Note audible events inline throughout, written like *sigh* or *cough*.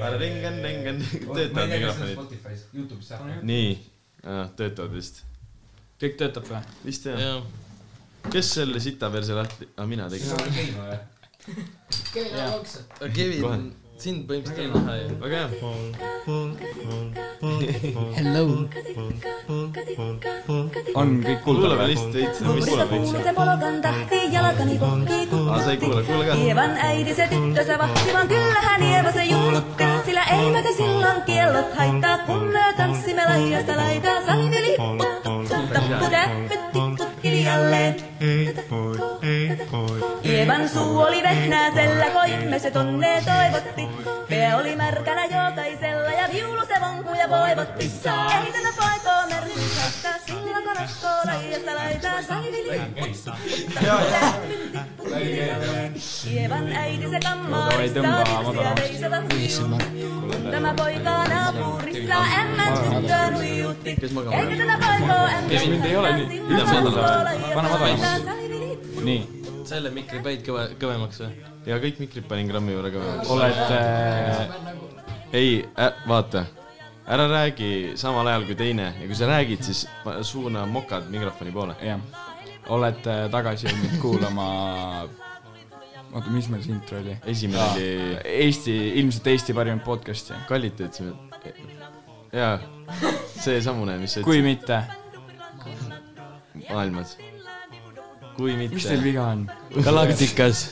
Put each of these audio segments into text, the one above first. Pärringen-ringen , Eh, ma ei töötavad tea , kas see on mikrofonid . Spotify's , Youtube'is jah . nii , töötavad vist , kõik töötab või ? vist jah . jah , kes selle sita perse lahti , aa mina sina tegin . oled Keino või ? Kevin , Jaa. ära jookse . Kohe. Kevin , sind põhimõtteliselt ei näha ju . väga hea , Hello . on kõik kuulda kuulame või ? lihtsalt veits , no mis Muista kuulab veits . puute polokan tahti, jalkani kokki aa , sa ei kukutti. kuule , kuule ka . Hieman äiti se tyttö se vahti, vaan kyllä hän hievosen julkkaa. Sillä eivätä silloin kiellot haittaa, kun me tanssimme laidasta laitaa. Salmi lipput, tutsut, tappu, tähvet, tikkut, hiljalleen. Hieman suu oli vehnäisellä, koimme se tonne toivotti. Pää oli märkänä jokaisella ja viulu se vonkuja voivotti. Ei tätä paikoo merkitys haittaa, sillä kun askoo laidasta laitaa. Salmi lipput, tutsut, tappu, tähvet, tikkut, hiljalleen. Hieman äiti se kammarissa, vitsejä veisata hiukan. Tämä poika naapurissa ämmän tyttöä nuijutti. Kes magama Eikä tätä poikoo ämmän mind ei ole nii. sillä Mida sa kun tahad? askoo Pane madalamaks. laidasta laitaa. nii , selle mikri panid kõve , kõvemaks või ? ja kõik mikrid panin grammi võrra ka . oled äh, , ei , vaata , ära räägi samal ajal kui teine ja kui sa räägid , siis pa- suuna mokad mikrofoni poole . jah , oled äh, tagasi jõudnud kuulama , oota , mis meil see intro oli ? esimene oli Eesti , ilmselt Eesti parim podcast'i , kallid , ütlesime . jaa , seesamune , mis sa kui ütlesid mitte , maailmas . kui mis teil mitte , viga on ? galaktikas .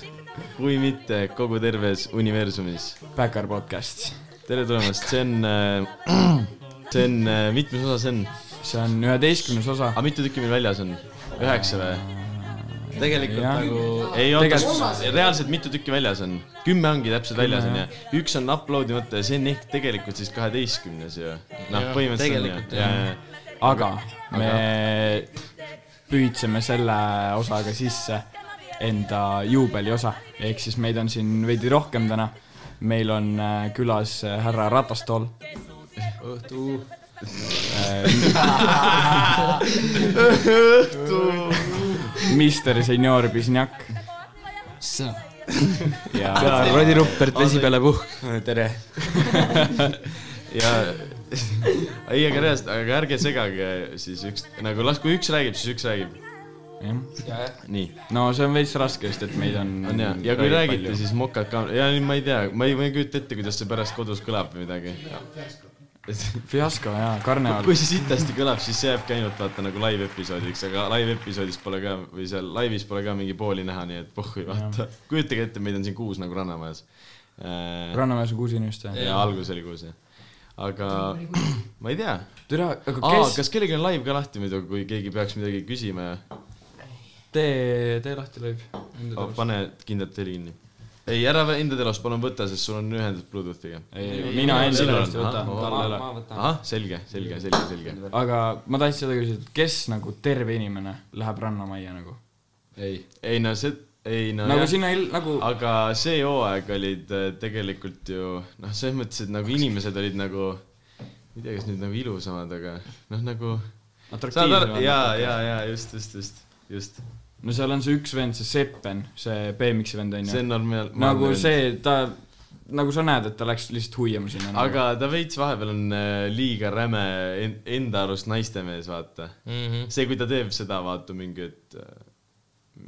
kui mitte kogu terves universumis Backer podcast , tere tulemast , see on äh, , see on äh, , mitmes osa see on ? see on üheteistkümnes osa . aga mitu tükki meil väljas on ? üheksa või ? tegelikult Jah. nagu ei oota Tegelikult- , reaalselt mitu tükki väljas on ? kümme ongi täpselt väljas on ju . üks on upload imata ja see on ehk tegelikult siis kaheteistkümnes ju . noh , Jah, põhimõtteliselt tegelikult on ju . jah. aga me püüdsime selle osaga sisse enda juubeliosa , ehk siis meid on siin veidi rohkem täna . meil on äh, külas äh, härra Ratastool . õhtu . Mister senior Pisniak ja , Rodi Ruppert , vesi peale puhk . tere . ja *laughs* ei , aga reaalselt , aga ärge segage siis üks , nagu las , kui üks räägib , siis üks räägib . nii no see on veits raske , sest et meid on . on ja , ja kui räägite , siis mokad ka , ja ma ei tea , ma ei , ma ei kujuta ette , kuidas see pärast kodus kõlab või midagi . fiasko jaa , karneval kui see sitasti kõlab , siis see jääbki ainult vaata nagu live episoodiks , aga live episoodis pole ka või seal laivis pole ka mingi pooli näha , nii et pohhui vaata . kujutage ette , meid on siin kuus nagu Rannamäes . ja Rannamäes on kuus inimest jah ? algus oli kuus jah . aga ma ei tea . tere , aga aa , kes kas kellelgi on live ka lahti muidu , kui keegi peaks midagi küsima ja tee , tee lahti live . oh, pane kindlalt teli kinni . ei , ära enda telost palun võta , sest sul on ühendus Bluetoothiga . mina Ei, endal sinul hästi on, võtan ahah, tal ei ole . ma võtan . ahah , selge , selge , selge , selge . aga ma tahtsin seda küsida , et kes nagu terve inimene läheb rannamajja nagu ? ei , ei no see , ei no nagu jah. sinna il- , nagu aga see hooaeg olid äh, tegelikult ju noh , selles mõttes , et nagu inimesed olid nagu , ma ei tea , kas nüüd nagu ilusamad , aga noh , nagu saad aru , ja , atraktiivne . ja , ja just , just , just , just . no seal on see üks vend , see Seppen , see BMX-i vend see onju . on normaal- . noh. nagu . see , ta , nagu sa näed , et ta läks lihtsalt hoiama sinna . nagu. aga ta veits vahepeal on äh, liiga räme en- enda arust naistemees , vaata . Mhm. see , kui ta teeb seda , vaata mingi , et äh,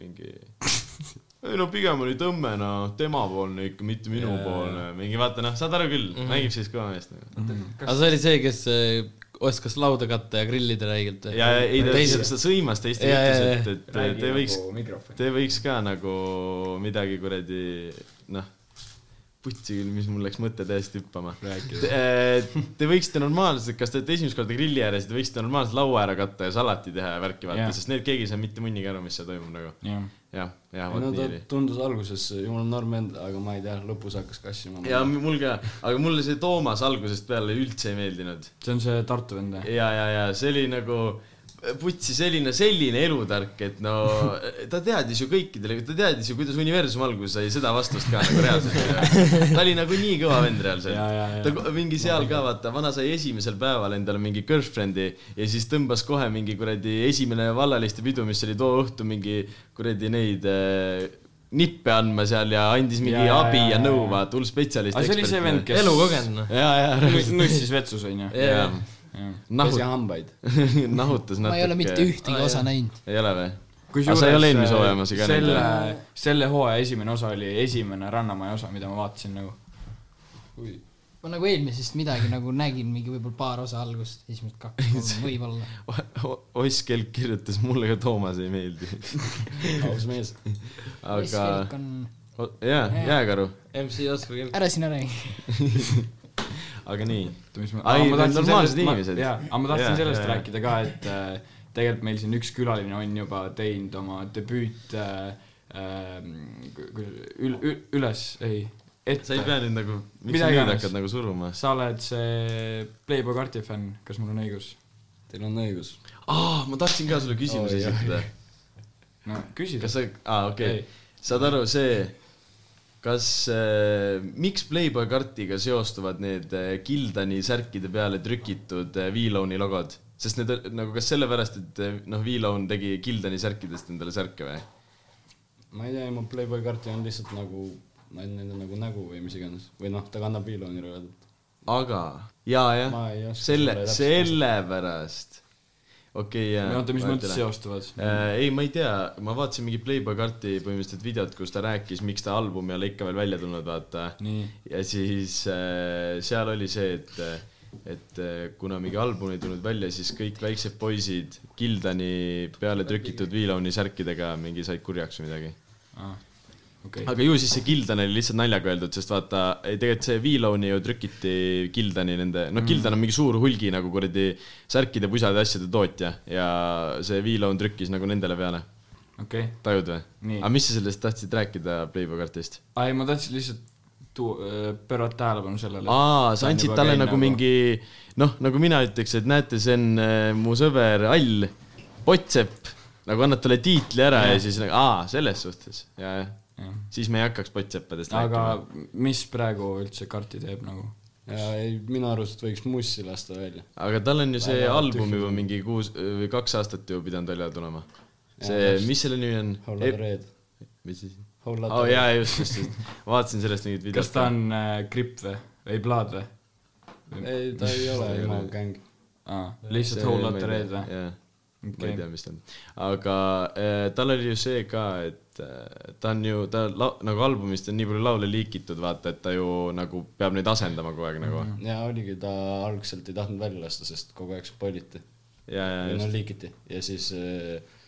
mingi *laughs* ei no pigem oli tõmme , no temapoolne ikka , mitte minupoolne , mingi vaata noh , saad aru küll , Mhm. mängib sellist kõva meest nagu . aga see oli see , kes äh, oskas lauda katta ja grillida räigelt või ? ja ja ei , ta teised lihtsalt sõimas teiste Ja, ja, ütles , et , et te võiks , nagu. mikrofoni . te võiks ka nagu midagi kuradi noh , putsi küll , mis mul läks mõte täiesti hüppama . Te võiksite normaalselt , kas te olete esimest korda grilli ääres , te võiksite normaalselt laua ära katta ja salati teha ja värki vaata Jah. , sest need keegi ei saa mitte mõnigi aru , mis seal toimub nagu . jah , jah , jah , no vot nii ta oli . tundus alguses jumala norm end , aga ma ei tea , lõpus hakkas kassima . ja mul ka , aga mulle see Toomas algusest peale üldse ei meeldinud . see on see Tartu vend või ? ja , ja , ja see oli nagu putsi selline , selline elutark , et no ta teadis ju kõikidele , ta teadis ju , kuidas universum alguse sai , seda vastust ka nagu reaalselt . ta oli nagu nii kõva vend Ja, ja, reaalselt . ja. ta ko- mingi seal ka vaata , vana sai esimesel päeval endale mingi girlfriend'i ja siis tõmbas kohe mingi kuradi esimene vallaliste pidu , mis oli too õhtu mingi kuradi neid äh, nippe andma seal ja andis mingi Ja, ja, ja, abi ja, ja, ja nõu , ja. vaata , hull spetsialist . aga see oli see vend , kes elukogenud noh . ja , ja , nus- nussis vetsus onju . ja pesi nahut- , hambaid . *laughs* nahutas natuke . Ah, ma ei ole mitte . ühtegi Aa, osa jah. näinud . ei ole või ? aga sa ei ole eelmise hooaja omas ka selle näinud ?, selle hooaja esimene osa oli esimene Rannamaja osa , mida ma vaatasin nagu . ma nagu eelmisest midagi nagu nägin , mingi võib-olla paar osa algust , esimesed kaks , *laughs* võib-olla . Oss Kelk kirjutas mulle ka , Toomas ei *laughs* meeldi . aus mees . aga on , O- jaa , jääkaru , MC Oskar Kelk . ära sina räägi . aga nii . Ai, ai need , normaalsed inimesed. jaa , aga ma tahtsin Jaa, sellest jaa, jaa. rääkida ka , et äh, tegelikult meil siin üks külaline on juba teinud oma debüüt äh, äh, ku- ku- ül- , ül- , üles , ei , sa ei ette . pea nüüd nagu , miks Mida sa nüüd iganes. hakkad nagu suruma ? sa oled see Playboy karti fänn , kas mul on õigus ? Teil on õigus . aa , ma tahtsin ka sulle küsimuse Oi, oi. esitada . no küsi . kas sa , aa , okei Ei. , saad aru , see , kas äh, , miks Playboy kartiga seostuvad need äh, Gildani särkide peale trükitud äh, V-Lone'i logod ? sest need ol- nagu , kas sellepärast , et äh, noh , V-Lone tegi Gildani särkidest endale särke või ? ma ei tea , mu Playboy karti on lihtsalt nagu , ma ei tea , neil on nagu nägu või mis iganes . või noh , ta kannab viiloni rõvedalt . aga , jaa , Ma ei jah , oska selle , sulle täpselt sellepärast . okei , jaa . oota , mis mõttes ? seostuvad ? Äh, ei , ma ei tea , ma vaatasin mingit Playboy karti põhimõtteliselt videot , kus ta rääkis , miks ta album ei ole ikka veel välja tulnud , vaata . nii , ja siis äh, seal oli see , et , et äh, kuna mingi album ei tulnud välja , siis kõik väiksed poisid Gildani peale trükitud viilauni särkidega mingi said kurjaks või midagi . okei . aga ju siis see Gildan oli lihtsalt naljaga öeldud , sest vaata , tegelikult see viilauni ju trükiti Gildani nende , Mm. noh , Gildan on mingi suur hulgi nagu kuradi särkide , pusade , asjade tootja ja see viilaun trükkis nagu nendele peale okei , tajud või ? Nii. aga mis sa sellest tahtsid rääkida Playboy kartist ? ei ma tahtsin lihtsalt tuu- , pöörata tähelepanu sellele . aa , sa andsid talle nagu . mingi noh , nagu mina ütleks , et näete , see on äh, mu sõber All Potsepp , nagu annad talle tiitli ära ja, ja siis nagu aa , selles suhtes ja , ja Jah. siis me ei hakkaks Potseppadest aga rääkima . mis praegu üldse karti teeb nagu ? ja ei , minu arust võiks mussi lasta välja . aga tal on ju see Väga album tühi. juba mingi kuus äh, või kaks aastat ju pidanud välja tulema . see , mis selle nimi Hold on on ? red . mis siis ? Hold on oo red . jaa , just , just , just . vaatasin sellest mingit videot . kas ta on äh, gripp või , või plaad või ? ei , ta *laughs* ei ole jumal gäng . aa , lihtsalt whole lot of red või ? jah , ma Okei. ei tea , mis ta on . aga äh, tal oli ju see ka , et äh, ta on ju , ta la- nagu albumist on nii palju laule liikitud , vaata , et ta ju nagu peab neid asendama kogu aeg nagu . Mhm. ja oligi , ta algselt ei tahtnud välja lasta , sest kogu aeg spoiliti . ja , ja või noh , just , liigiti ja siis äh,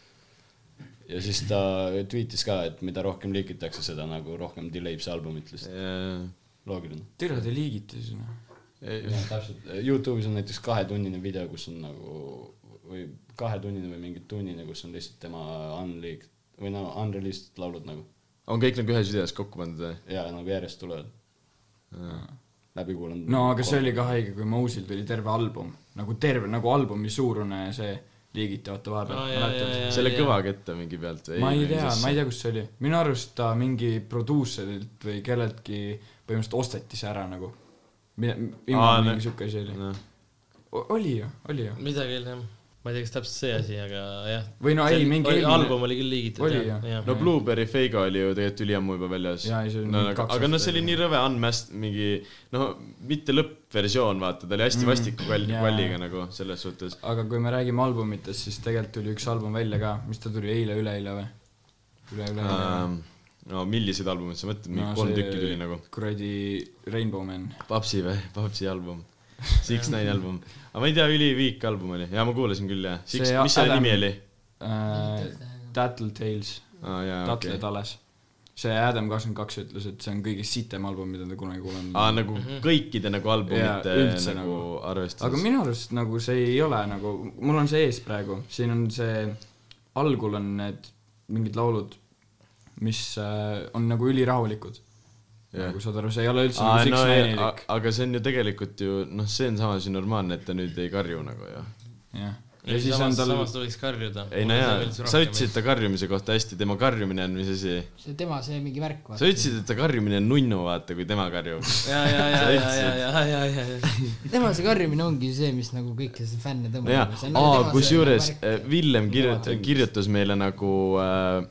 ja siis ta tweetis ka , et mida rohkem liigitakse , seda nagu rohkem delay ib see albumit lihtsalt , loogiline . türa , te liigite sinna . jah , täpselt , Youtube'is on näiteks kahetunnine video , kus on nagu või kahetunnine või mingi tunnine , kus on lihtsalt tema unleaked või no unreleased laulud nagu on kõik nagu ühes videos kokku pandud või ? ja nagu järjest tulevad . läbi kuulanud . no aga see oli ka haige , kui Mosil tuli terve album , nagu terve , nagu albumi suurune see liigiti , oota Aa, jaa, jaa, vahepeal . jaa. selle kõva kette mingi pealt või ? ma ei tea , ma ei tea , kus see oli , minu arust ta mingi produusserilt või kelleltki põhimõtteliselt osteti see ära nagu . Aa, mingi ne- siuke asi oli . tea . oli ju , oli ju . midagi oli jah . ma ei tea , kas täpselt see asi , aga jah . Või no ei, mingi eelmine- album oli küll liigitud . Oli, jah. no Blueberry Feigo oli ju tegelikult üliammu juba väljas . Jaa, ei, see oli no, mingi aga, kaks aga noh , aastat see oli nii rõve unmasked mingi noh , mitte lõppversioon , vaata , ta oli hästi vastiku kall- , Mm. jaa. kalliga nagu selles suhtes . aga kui me räägime albumitest , siis tegelikult tuli üks album välja ka , mis ta tuli eile , üleeile või ? üle-üleeile Ähm, no milliseid albumeid sa mõtled , mingi kolm tükki tuli nagu . kuradi Rainbow Man . Papsi või , Papsi album , *laughs* Six Nine album , aga ma ei tea , üliviik album oli ja ma kuulasin küll jah , Six , See mis selle Adam- nimi oli ? Äh, Tattle Tales , aa jaa , okei Tattle . Tales . see Adam kakskümmend kaks ütles , et see on kõige sitem album , mida ta kunagi kuulanud aa , on . nagu kõikide nagu albumite Mhm. Jaa, üldse nagu. nagu aga arvestuses . minu arust nagu see ei ole nagu , mul on see ees praegu , siin on see , algul on need mingid laulud , mis äh, on nagu ülirahulikud Jah. yeah. . nagu saad aru , see ei ole üldse aa , nagu no Six-Nine'ilik ja, a- aga see on ju tegelikult ju noh , see on samas ju normaalne , et ta nüüd ei karju nagu ju jah . ja siis on tal . samas tuleks karjuda . ei no jaa , sa ütlesid . ta karjumise kohta hästi , tema karjumine on mis asi ? see tema , see mingi värk , sa ütlesid , et ta karjumine on nunnu , vaata , kui tema karjub . ja , ja , ja , ja , ja , ja , ja , ja , ja . tema see karjumine ongi see , mis nagu kõiki see fänne no jaa tõmbab ., nagu, aa , kusjuures eh, Villem kirjut- , kirjutas meile nagu äh,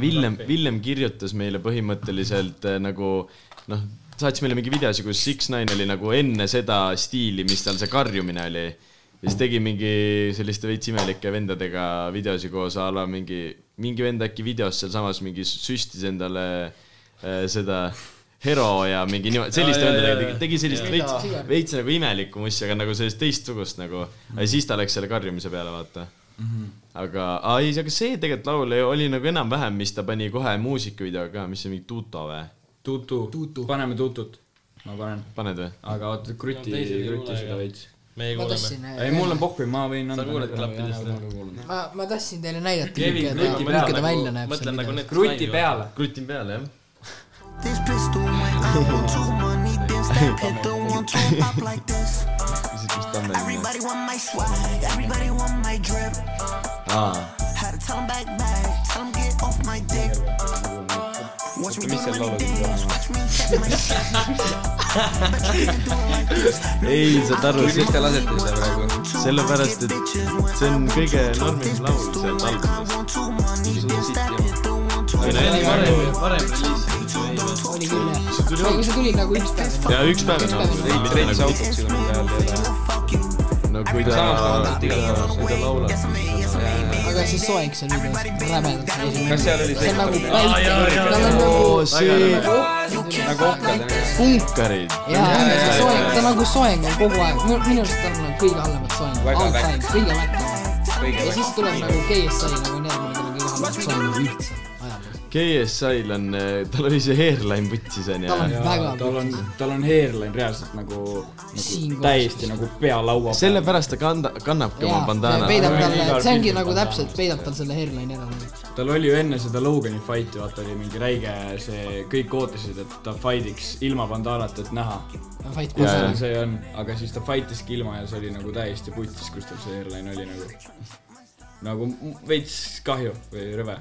Villem , Villem kirjutas meile põhimõtteliselt äh, nagu noh , saatis meile mingi videosi , kus Six Nine oli nagu enne seda stiili , mis tal see karjumine oli . ja siis tegi mingi selliste veits imelike vendadega videosi koos a la mingi , mingi vend äkki videos sealsamas mingi süstis endale äh, seda hero ja mingi niimoodi , selliste jaa, vendadega jaa, tegi , jaa. tegi sellist Mida? veits , veits nagu imelikku mussi , aga nagu sellist teistsugust nagu . ja siis ta läks selle karjumise peale , vaata Mhm. aga , aa ei , aga see tegelikult laul ei- oli nagu enam-vähem , mis ta pani kohe muusikavideoga ka , mis see mingi tuto või ? tutu, tutu. , paneme tutut , ma panen , paned või ? aga oota , kruti No teised ei , kuule, kruti aga- seda veits . meie ma kuuleme . tahtsin , ei , mul on pohvi , ma võin sa anda . kuuled klappidest või ? ma , ma tahtsin teile näidata , Kevin, milline kruti ta peale välja näeb . mõtlen nagu need . kruti . peale . krutin peale , jah . This bitch too much. I want too money, then stack hit the one two pop like this. ja siis vist Tammel . Everybody want my swag, everybody want my drip. aa , Had to tell 'em back back, tell 'em get off my dick. Watch me do the money dance, watch me get my shit. Bet you can do it like this. ei saad aru , miks te lasete seda praegu ? sellepärast , et see on kõige normim laul sealt algusest . Want too money, then stack hit the one two. ei no enne varem , varem reliisis või ei ? oli küll jah , see tuli nagu üks päev . ja üks päev on nagu , trennis autot sinu peal ei ole . no nagu kui ta , samas aastat igatahes seda laulab . aga see soeng seal videos , rämedalt seisab . kas seal oli see see on nagu päike , tal on nagu oo see , nagu ohkad ? punkarid . jaa , on see soeng , ta nagu soeng on kogu aeg , minu arust tal on nagu kõige halvemad soengud , all time , kõige väiksem . ja siis tuleb nagu KSI nagu need , millel on kõige halvemad soengud üldse ajaloos . KSI-l on , tal oli see hairline putsis onju tal on . väga tal on , tal on hairline reaalselt nagu , nagu Siinkohal. täiesti nagu pea laua peal . sellepärast ta kanda- , kannabki oma jaa , see bandana . peidab talle Igal , see ongi pildil nagu täpselt peidab tal selle hairline'i ära nagu . tal oli ju enne seda Logani fight'i , vaata oli mingi räige see , kõik ootasid , et ta fight'iks ilma bandaanat , et näha . Fight kus Äh. Pass tal see on , aga siis ta fight iski ilma ja see oli nagu täiesti putis , kus tal see hairline oli nagu . nagu m- veits kahju või rõve .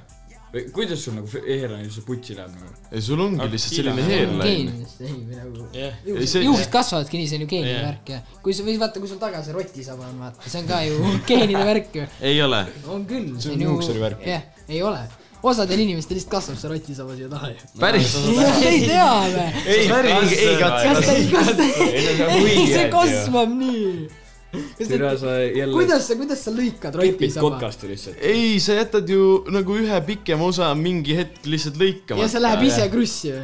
või kuidas sul nagu hairline üldse putsi läheb nagu ? ei , sul ongi lihtsalt selline hairline . geenidest , Nagu ei või nagu Jah. Ei, see- juuksed juuksed kasvavadki nii , see on ju geenide Jah. värk ja kui sa , või vaata , kui sul taga see rotisaba on , vaata , see on ka ju *laughs* geenide värk ju . ei ole . on küll . see on juuksuri värk. jah , ei ole , osadel inimestel lihtsalt kasvab see rotisaba siia taha ju . päris . *laughs* ei tea või ? ei , päris , ei katse . kas ta , kas ta , ei see ju. kasvab nii . Türa , sa jälle kuidas sa , kuidas sa lõikad kipid rotisaba ? kotkast lihtsalt . ei , sa jätad ju nagu ühe pikema osa mingi hetk lihtsalt lõikama . ja see läheb ise krussi või ?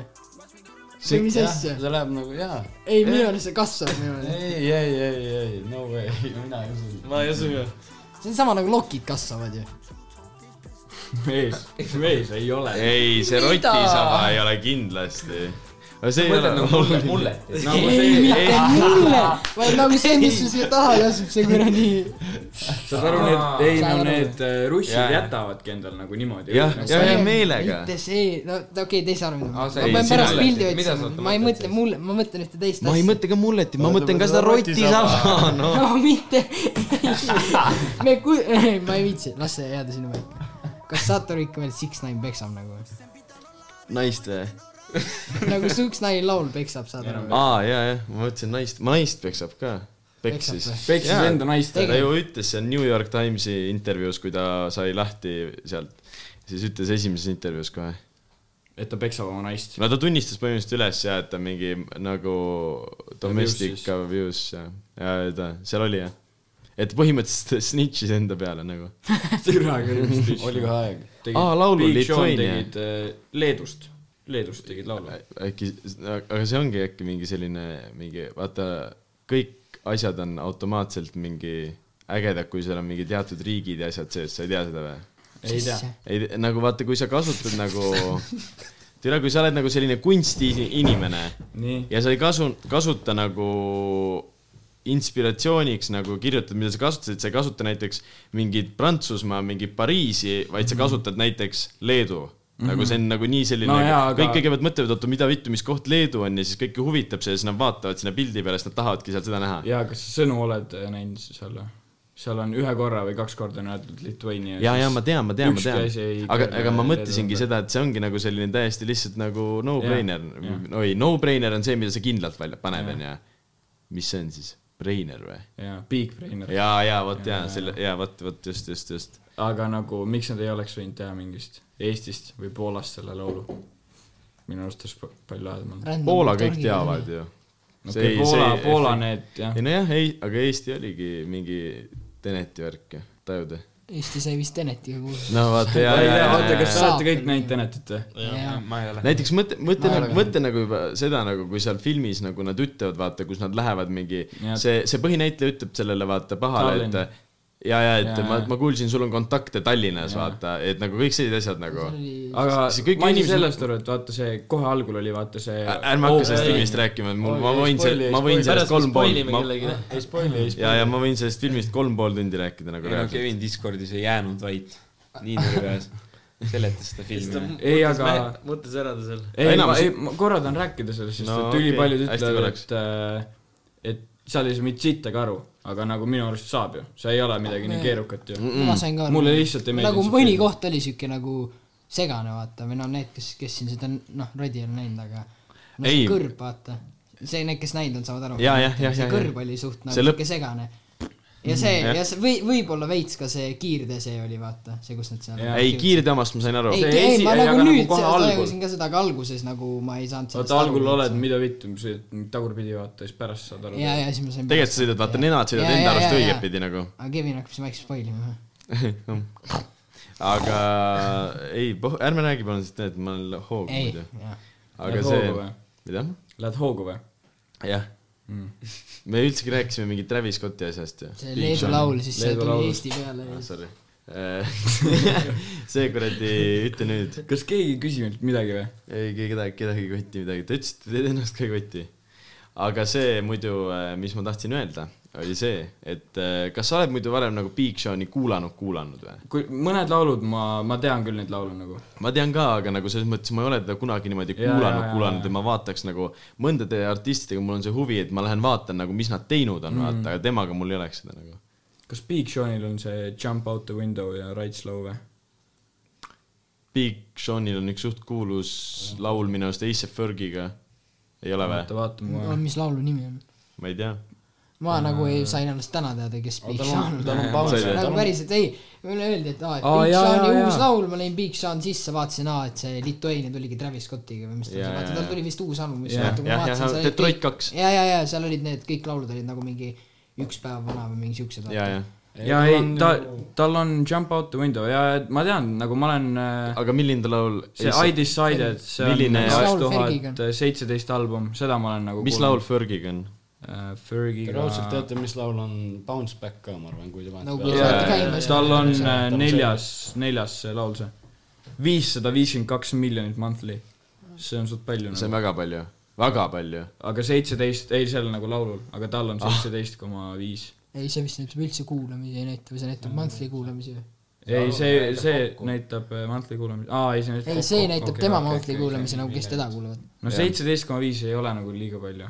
või mis asja ? see läheb nagu jaa . ei , minu arust see kasvab niimoodi . ei , ei , ei , ei , no way , *laughs* mina ei usu . ma ei usu ka . see on sama nagu lokid kasvavad ju . mees , mees ei ole . ei , see rotisaba ei ole kindlasti . aga see ei ole nagu mulle , mulle . nagu see , mitte mulle , vaid nagu see , mis sul siia taha lasub , see kuradi . saad aru , need , ei Saad no aru. need äh, russid Jaa. jätavadki endale nagu niimoodi . jah , ja , ja meelega . mitte see , no okei okay, , te ei saa aru , mida ma Aa, sa mõtlen . ei- ma pean sina pärast oled- pildi mida sa otsima oled , ma ei mõtled mõtle mulle , ma mõtlen ühte teist ma ei asja . mõtle ka mulletit , ma mõtlen nagu ka seda rotisaba , noh . no mitte , me ku- , ma ei viitsi , las see jääda sinna paika . kas saate aru ikka veel Six-Nine peksab nagu ? *laughs* naist või ? nagu Six-Nine laul peksab , saad aru ? aa , ja , jah , ma mõtlesin naist , naist peksab ka . peksis . peksis Jaa. enda naist ta ära . ju ütles seal New York Timesi intervjuus , kui ta sai lahti sealt , siis ütles esimeses intervjuus kohe . et ta peksab oma naist . no ta tunnistas põhimõtteliselt üles ja et ta mingi nagu domestic Abuse'is. abuse ja , ja ta seal oli jah . et põhimõtteliselt ta snitšis enda peale nagu . *laughs* türa küll . oli kohe aeg . Aa, laul oli Lithuania. tegid äh, Leedust , Leedust tegid laulu . äkki , aga see ongi äkki mingi selline mingi vaata , kõik asjad on automaatselt mingi ägedad , kui seal on mingi teatud riigid ja asjad sees , sa ei tea seda või ? ei tea . ei , nagu vaata , kui sa kasutad nagu , tead , kui sa oled nagu selline kunstiinimene nii . ja sa ei kasu , kasuta nagu inspiratsiooniks nagu kirjutad , mida sa kasutasid , sa ei kasuta näiteks mingit Prantsusmaa , mingit Pariisi , vaid sa kasutad näiteks Leedu . nagu see on nagu nii selline Mhm. No jaa, aga- kõik kõigepealt mõtlevad , oota , mida vittu , mis koht Leedu on ja siis kõiki huvitab see ja siis nad vaatavad sinna pildi peale , siis nad tahavadki seal seda näha . ja kas sa sõnu oled äh, näinud seal või ? seal on ühe korra või kaks korda on öeldud Lithuania . ja , ja ma tean , ma tean , ma ükski asi ei tean . aga , kõrge aga ma Leedu mõtlesingi ümber. seda , et see ongi nagu selline täiesti lihtsalt nagu no-brainer Jah, jah. . oi , no-brainer on see , mida sa kindlalt välja paned , onju . mis see on siis ? Breiner või ? jaa , Big Brainer . jaa , jaa , vot jaa , selle , jaa , vot , vot just , just , just . aga nagu miks nad ei oleks võinud teha mingist Eestist või Poolast selle laulu ? minu arust oleks pa- palju lahedam olnud . Poola kõik teavad . ju . okei , Poola , Poola . need jah ei , nojah , ei , aga Eesti oligi mingi Teneti värk ju , tajud või ? Eesti sai vist Tenetiga kuulda . no vaata , jaa , ma ei jaa , tea , jaa , oota , kas te Saab. olete kõik näinud Tenetit või ? Jaa. ma ei ole . näiteks mõtle , mõtle , mõtle nagu juba seda nagu , kui seal filmis nagu nad ütlevad , vaata , kus nad lähevad mingi , Jah. see , see põhinäitleja ütleb sellele vaata pahale , et Tallinn. ja , ja et Jaa. ja. ma , ma kuulsin , sul on kontakte Tallinnas , vaata , et nagu kõik sellised asjad nagu . aga See- see kõik ma ei saa inimesed- sellest aru , et vaata see , kohe algul oli vaata see ärme hakka sellest Open- filmist rääkima , et mul , Oi, ma ei võin spoili, selle , ei ma võin sellest kolm pool , ma , kellelegi . ei spoil'i , ei ja , ja ma võin sellest filmist kolm pool tundi rääkida nagu ei no reaalselt . Kevin Discordis ei jäänud vait , nii nurgas , seletas seda filmi . ei , aga mõttes ära ta seal . ei , ma , Enamus- ei , ma korra tahan rääkida sellest , sest No no, et ülipaljud okei, okay. hästi ütlevad , korraks. et äh, et seal ei saa mitte sittagi aru , aga nagu minu arust saab ju , see ei ole midagi nii Nojah. keerukat ju . Mm. ma sain ka aru . mulle lihtsalt ei meeldi nagu see mõni film. koht oli siuke nagu segane , vaata , või no need , kes , kes siin seda noh , radi on näinud , aga no Ei. see kõrb , vaata , see , need , kes näinud on , saavad aru . Jaa, jah, jah, jah, see jah. kõrb oli suht nagu See lõpp- Mm, siuke segane . ja see , jah. ja see või , võib-olla veits ka see kiirde see oli , vaata , see , kus nad seal Jah. ei , kiirde omast ma sain aru ei , See ei , esi- ma ei, aga nagu nagu nüüd kohe sellest algul. ajasin ka seda , aga alguses nagu ma ei saanud sellest vaata algul oled , mida vittu , tagurpidi vaata , siis pärast saad aru . ja , ja siis ma sain tegelikult sa sõidad , vaata , nenad sõidad enda arust õigetpidi nagu . *laughs* aga Kevin hakkas vaikselt spoilima . aga ei , ärme räägi palun , sest tead , ma olen hoog ei muidu ., jah . aga Lähed see hoogu või? , mida ? Lähed hoogu või ? Mm. jah . me üldsegi rääkisime mingit Travis Scotti asjast ju . see Leedu laul , siis see Leedu laul. tuli Eesti peale ja Sorry . see kuradi , ütle nüüd . kas keegi ei küsi meilt midagi või ? ei , kedagi , kedagi ei kotti midagi , te ütlesite , teid ennast ka ei kotti . aga see muidu , mis ma tahtsin öelda , oli see , et eh, kas sa oled muidu varem nagu Big Sean'i kuulanud , kuulanud või ? kui mõned laulud ma , ma tean küll neid laule nagu . ma tean ka , aga nagu selles mõttes ma ei ole teda kunagi niimoodi Jaa, kuulanud jaa, , kuulanud jaa. ja ma vaataks nagu mõndade artistidega mul on see huvi , et ma lähen vaatan nagu , mis nad teinud on , vaata , Mm. aga temaga mul ei oleks seda nagu . kas Big Seanil on see Jump out the window ja Right slow või ? Big Seanil on üks suht kuulus laul minu arust Ace Fergiga . ei ole vaata , või ? vaata mu no, . mis laulu nimi on ? ma ei tea . ma nagu ei , sain alles täna teada , kes Big tal Sean on , tal on on . paus . nagu päriselt , ei , mulle öeldi , et aa , et Aa, Big jaa, Seani jaa, uus jaa. laul , ma lõin Big Sean sisse , vaatasin , aa , et see Lithuania tuligi Travis Scottiga või mis ta Jaa, oli , vaata jaa, tal jaa. tuli vist uus album , mis Jah, vaata kui ma jah, jah, vaatasin , seal olid Detroit kaks. ja , ja , ja seal olid need kõik laulud olid nagu mingi üks päev vana või mingi siuksed . ja , ja . ja ei , ta , tal on Jump out the window ja ma tean , nagu ma olen äh, aga milline ta laul ? see I decided , see on Milline- kaks Mis laul Fergiga tuhat seitseteist album , seda ma olen nagu mis laul Fergiga on ? laul ? Te Fergiga raudselt teate , mis laul on Bounce Back ka , ma arvan , kui te No panete kui Jaa, sa oled jaa, käinud jaa. tal on äh, neljas , neljas see laul see . viissada viiskümmend kaks miljonit monthly . see on suht palju see on nagu . väga palju , väga palju . aga seitseteist , ei seal nagu laulul , aga tal Ah. on seitseteist koma viis . ei , see vist näitab üldse kuulamisi ei näita või see näitab monthly kuulamisi või ? ei , see , see näitab äh, monthly kuulamist , aa ei see näitab ei , see näitab tema monthly kuulamisi nagu , kes teda kuulavad . no seitseteist koma viis ei ole nagu liiga palju .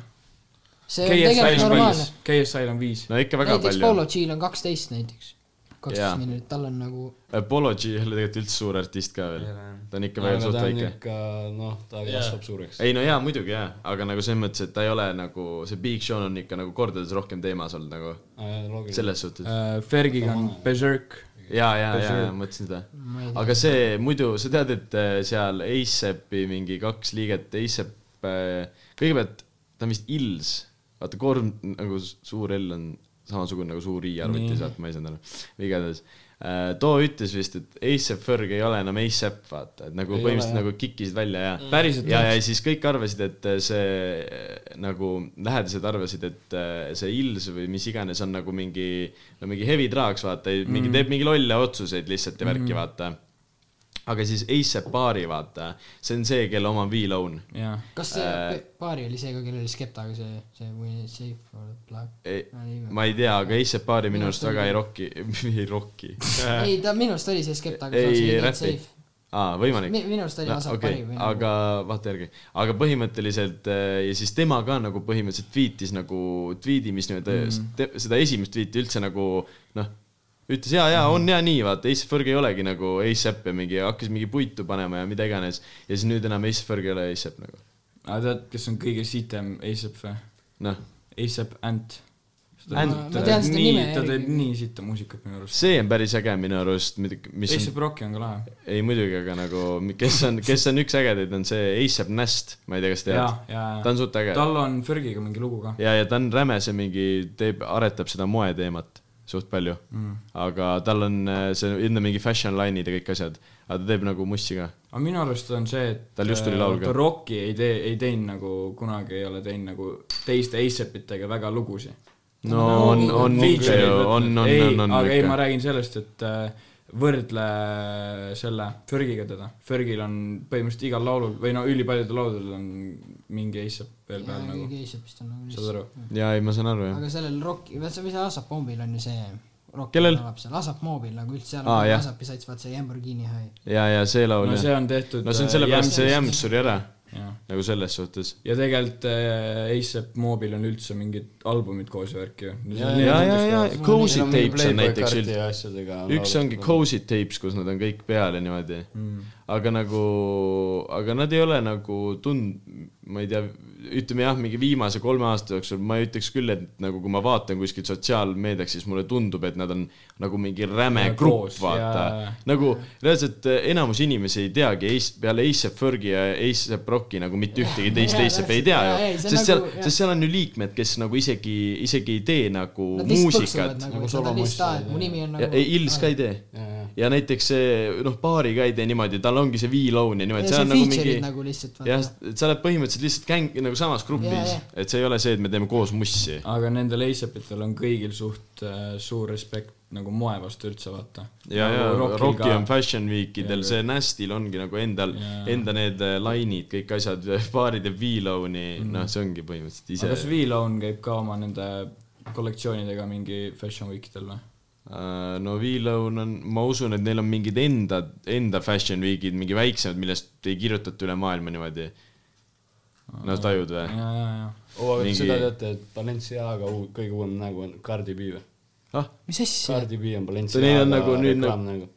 see on KSI-l tegelikult on normaalne viis ., KSI-l on viis . no ikka väga näiteks palju Polo . G-l on kaksteist näiteks , Jaa. kaksteist miljonit , tal on nagu Apology Äh, ei ole tegelikult üldse suur artist ka veel . ta on ikka väga suht väike . ikka noh , ta kasvab suureks . ei no jaa , muidugi jaa , aga nagu selles mõttes , et ta ei ole nagu , see Big Sean on ikka nagu kordades rohkem teemas olnud nagu , Äh, selles suhtes . Äh, Fergiga on Berserk . jaa , jaa , jaa , mõtlesin seda ei . aga see muidu , sa tead , et äh, seal ASAP-i mingi kaks liiget , ASAP , äh, kõigepealt ta on vist Ils , vaata korm nagu s- suur L on samasugune nagu suur I arvutis , vaata ma ei saanud aru , igatahes . too ütles vist , et ASAP Ferg ei ole enam ASAP , vaata , et nagu Ei ole, põhimõtteliselt jah. nagu kikkisid välja ja . päriselt ja , ja siis kõik arvasid , et äh, see nagu lähedased arvasid , et äh, see Ils või mis iganes on nagu mingi , no mingi heavy drugs , vaata , mingi teeb mingi lolle otsuseid lihtsalt ja värki , vaata . aga siis ASAP Bari , vaata , see on see , kellel oma V-Loan . jah , kas see äh, paari oli see ka , kellel oli Skeptaga see , see või Safe for the Black ? E, ma ei tea , aga ASAP Bari minu arust väga ei rocki , *laughs* ei rocki . ei , ta minu arust oli see Skeptaga , see on see ei Not räpi Safe .. aa , võimalik Mi- minu arust oli nagu- No, osa okei, parim, jah. aga vaata järgi , aga põhimõtteliselt äh, ja siis tema ka nagu põhimõtteliselt tweetis nagu tweet'i , mis nii-öelda mm. seda esimest tweet'i üldse nagu noh , ütles ja , ja on ja nii , vaata , Ace Ferg ei olegi nagu ASAP ja mingi hakkas mingi puitu panema ja mida iganes ja siis nüüd enam Ace Ferg ei ole ASAP nagu aga tead , kes on kõige sitem ASAP või ? noh , ASAP Ant . Ma tean nii seda nime, , ta teeb Erki. nii sitta muusikat minu arust . see on päris äge minu arust , mis on Acep Rocky on ka lahe . ei muidugi , aga nagu , kes on , kes on üks ägedaid , on see Acep Nast , ma ei tea , kas ja tead ., ja , ta ja on suht äge ta... . tal on Fergiga mingi lugu ka . ja , ja ta on räme , see mingi teeb , aretab seda moeteemat suht palju mm. . aga tal on äh, see enne mingi fashion line'id ja kõik asjad , aga ta teeb nagu mussi ka . aga minu arust on see , et Tal just tuli laul ka. vaata, Rocki ei tee , ei teinud nagu kunagi ei ole teinud nagu teiste Acepitega väga lugusid . no on , on ikka ju , on , on , ei , on , on aga ei , ma ikka . räägin sellest , et äh, võrdle äh, selle Fergiga teda . Fergil on põhimõtteliselt igal laulul või no ülipaljudel lauludel on mingi Acep veel peal nagu , Keisepist on nagu saad lihtsalt . aru ? jaa , ei ma saan aru jah . aga sellel Rocki , vaat see , mis see Asap Mobil on ju see . Kellel? seal Asap Mobil nagu üldse seal Aa, on jah. Asap besides vaat see Lamborghini hai . ja , ja see laul no jah see . on tehtud no see on äh, sellepärast , see Jämsist. jämps suri ära Jah. nagu selles suhtes . ja tegelikult äh, Acep Mobil on üldse mingid albumid koos ja värki ju . Ja, ja , ja , ja Cozy Neil on mingi Tapes on Playboy näiteks karti üld- , ja asjadega üks laulud. ongi Cozy Tapes , kus nad on kõik peal ja niimoodi mm. . aga nagu , aga nad ei ole nagu tund- , ma ei tea , ütleme jah , mingi viimase kolme aasta jooksul ma ei ütleks küll , et nagu kui ma vaatan kuskilt sotsiaalmeediat , siis mulle tundub , et nad on nagu mingi räme Ja grupp , koos, vaata jaa. . nagu reaalselt eh, enamus inimesi ei teagi Ace , peale Acep Fergi ja Acep Rocki nagu mitte ühtegi teist jaa, Acep'i ei täpselt. tea Jaa, ju ei, . see on sest seal nagu- , jah. sest seal on ju liikmed , kes nagu isegi , isegi ei tee nagu Nad lihtsalt põksuvad muusikat nagu , et nad on lihtsalt , aa , et mu nimi on ja nagu . ei , Ils ka ei tee . ja näiteks see , noh , baari ka ei tee niimoodi , tal ongi see V-Lone ja niimoodi , ja see see on nagu feature'id mingi mingi... nagu lihtsalt jah vaata ., sa oled põhimõtteliselt lihtsalt gäng , nagu samas Jaa, grupis jah. , et see ei ole see , et me teeme koos mussi . aga nendel Acepitel on kõigil suht äh, suur respekt nagu moe vastu üldse vaata . Nagu ja , ja Rocki on Fashion Weekidel , see Nastil ongi nagu endal Jaa. , enda need äh, line'id , kõik asjad , *laughs* baari teeb V-Lone'i , noh , see ongi Mhm. põhimõtteliselt aga kas ise . V-Lone käib ka oma nende kollektsioonidega mingi Fashion Weekidel või ? Äh, no V-Lone on , ma usun , et neil on mingid enda , enda Fashion Weekid , mingi väiksemad , millest ei kirjutata üle maailma niimoodi . no tajud või ? ja , ja , ja . oo , aga mingi- mingi... seda teate , et Balenciaga uu- kõige uuem nägu on Cardi B või ? ah , mis asja ? Cardi B on neil Balenciaga on nagu nüüd reklaamnägu .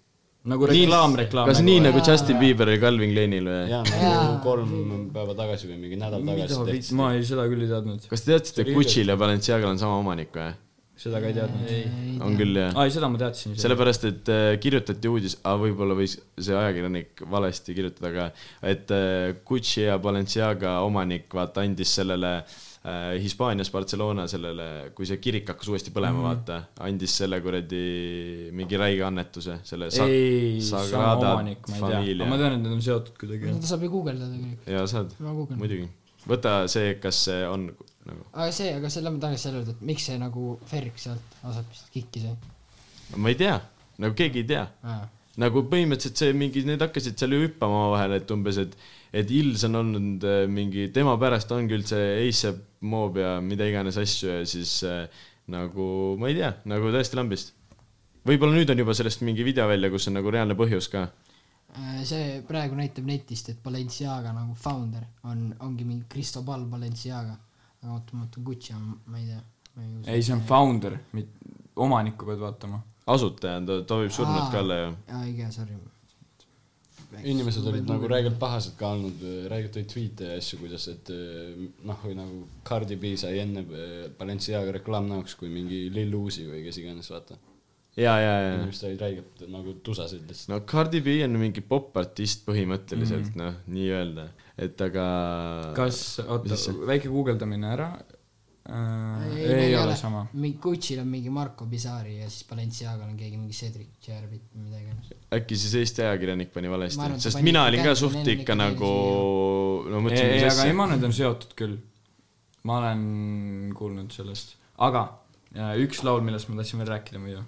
nagu reklaam , reklaam . kas nii nagu Justin Bieber ja Calvin Kleinil või ? jaa , nagu kolm päeva tagasi või mingi nädal tagasi mida tehti . vitt , ma ei , seda küll ei teadnud . kas te teadsite , et Gucci'l ja Balenciaga'l on sama omanik või ? seda ka ei teadnud . on küll jah . aa , ei seda ma teadsin . sellepärast , et äh, kirjutati uudis , aga võib-olla võis see ajakirjanik valesti kirjutada , aga et äh, Gucci ja Balenciaga omanik vaata andis sellele äh, Hispaanias Barcelona sellele , kui see kirik hakkas uuesti põlema , Mhm. vaata , andis selle kuradi mingi räige annetuse , selle sa- ei , sama Sagrada omanik , ma ei tea . Familia. aga ma tean , et need on seotud kuidagi . seda saab ju guugeldada tegelikult , ja saad , ma guugeldan . muidugi . võta see , kas see on nagu , aga see , aga selle ma tahaks selle öelda , et miks see nagu Ferg sealt Asapist kikki sai . ma ei tea , nagu keegi ei tea nagu põhimõtteliselt see mingi , need hakkasid seal ju hüppama omavahel , et umbes , et , et Ils on olnud äh, mingi , tema pärast ongi üldse Acep Mob ja mida iganes asju ja siis äh, nagu ma ei tea , nagu täiesti lambist . võib-olla nüüd on juba sellest mingi video välja , kus on nagu reaalne põhjus ka . Äh, see praegu näitab netist , et Balenciaga nagu founder on , ongi mingi Cristobal Balenciaga . aga oota , ma mõtlen Gucci , ma ei tea , ma ei usu . ei , see on founder , omanikku pead vaatama . asutaja on ta , ta võib surnud ka olla ju . aa , õige , sorry . inimesed olid nagu räigelt pahased ka olnud , räigelt olid tweet'e ja asju , kuidas , et eh, noh , või nagu Cardi B sai enne eh, Balenciaga reklaamnäoks kui mingi Lil Uzi või kes iganes , vaata . ja , ja , ja . inimesed olid räigelt nagu tusasid lihtsalt . no Cardi B on mingi popartist põhimõtteliselt mm. , noh , nii-öelda , et aga . kas , oota Äh, Mis , see- väike guugeldamine ära äh, . ei, ei ole sama . mingi Gucci'l on mingi Marco Bizarri ja siis Balenciagal on keegi mingi Cedric Jervit või midagi iganes . äkki siis Eesti ajakirjanik pani valesti Ma , arvan, et ta sest pani mina ikka olin ka kätte, suht neil on ikka ikka nagu , no ei , ei , aga mõtlesin , ema , need on seotud küll . ma olen kuulnud sellest , aga äh, üks laul , millest ma tahtsin veel rääkida muidu .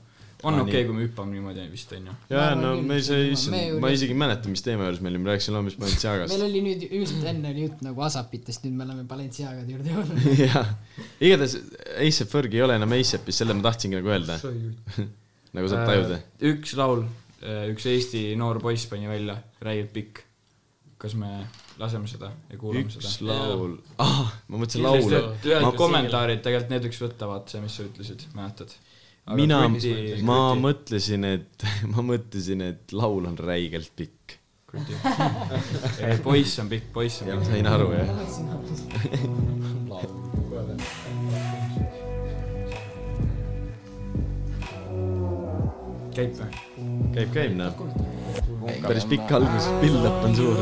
on Aa, okei okay, nii. , kui me hüppame niimoodi vist , onju . ja Ma no arvan me küll, ise et , me ju- ma isegi ei mäleta , mis teema juures me olime , me rääkisime hoopis *laughs* meil Balenciagast . oli nüüd just enne oli jutt nagu Asapitest , nüüd me oleme Balenciagade juurde jõudnud . *laughs* jah , igatahes Acep Ferg ei ole enam Acepis , selle ma tahtsingi nagu öelda , Äh, nagu saad tajuda . üks laul , üks Eesti noor poiss pani välja , räigelt pikk . kas me laseme seda ja kuulame üks seda ? laul , ah , ma mõtlesin Kindlasti laulu ma on. . Ühendus- kommentaarid tegelikult need võiks võtta , vaata see , mis sa ütlesid , mäletad ? mina , ma mõtlesin , et , *laughs* ma mõtlesin , et laul on räigelt pikk . ei , poiss on pikk , poiss on ja ma pikk . sain aru , nagu jah . käib või ? käib , käib noh . päris pikk algus , build-up on suur .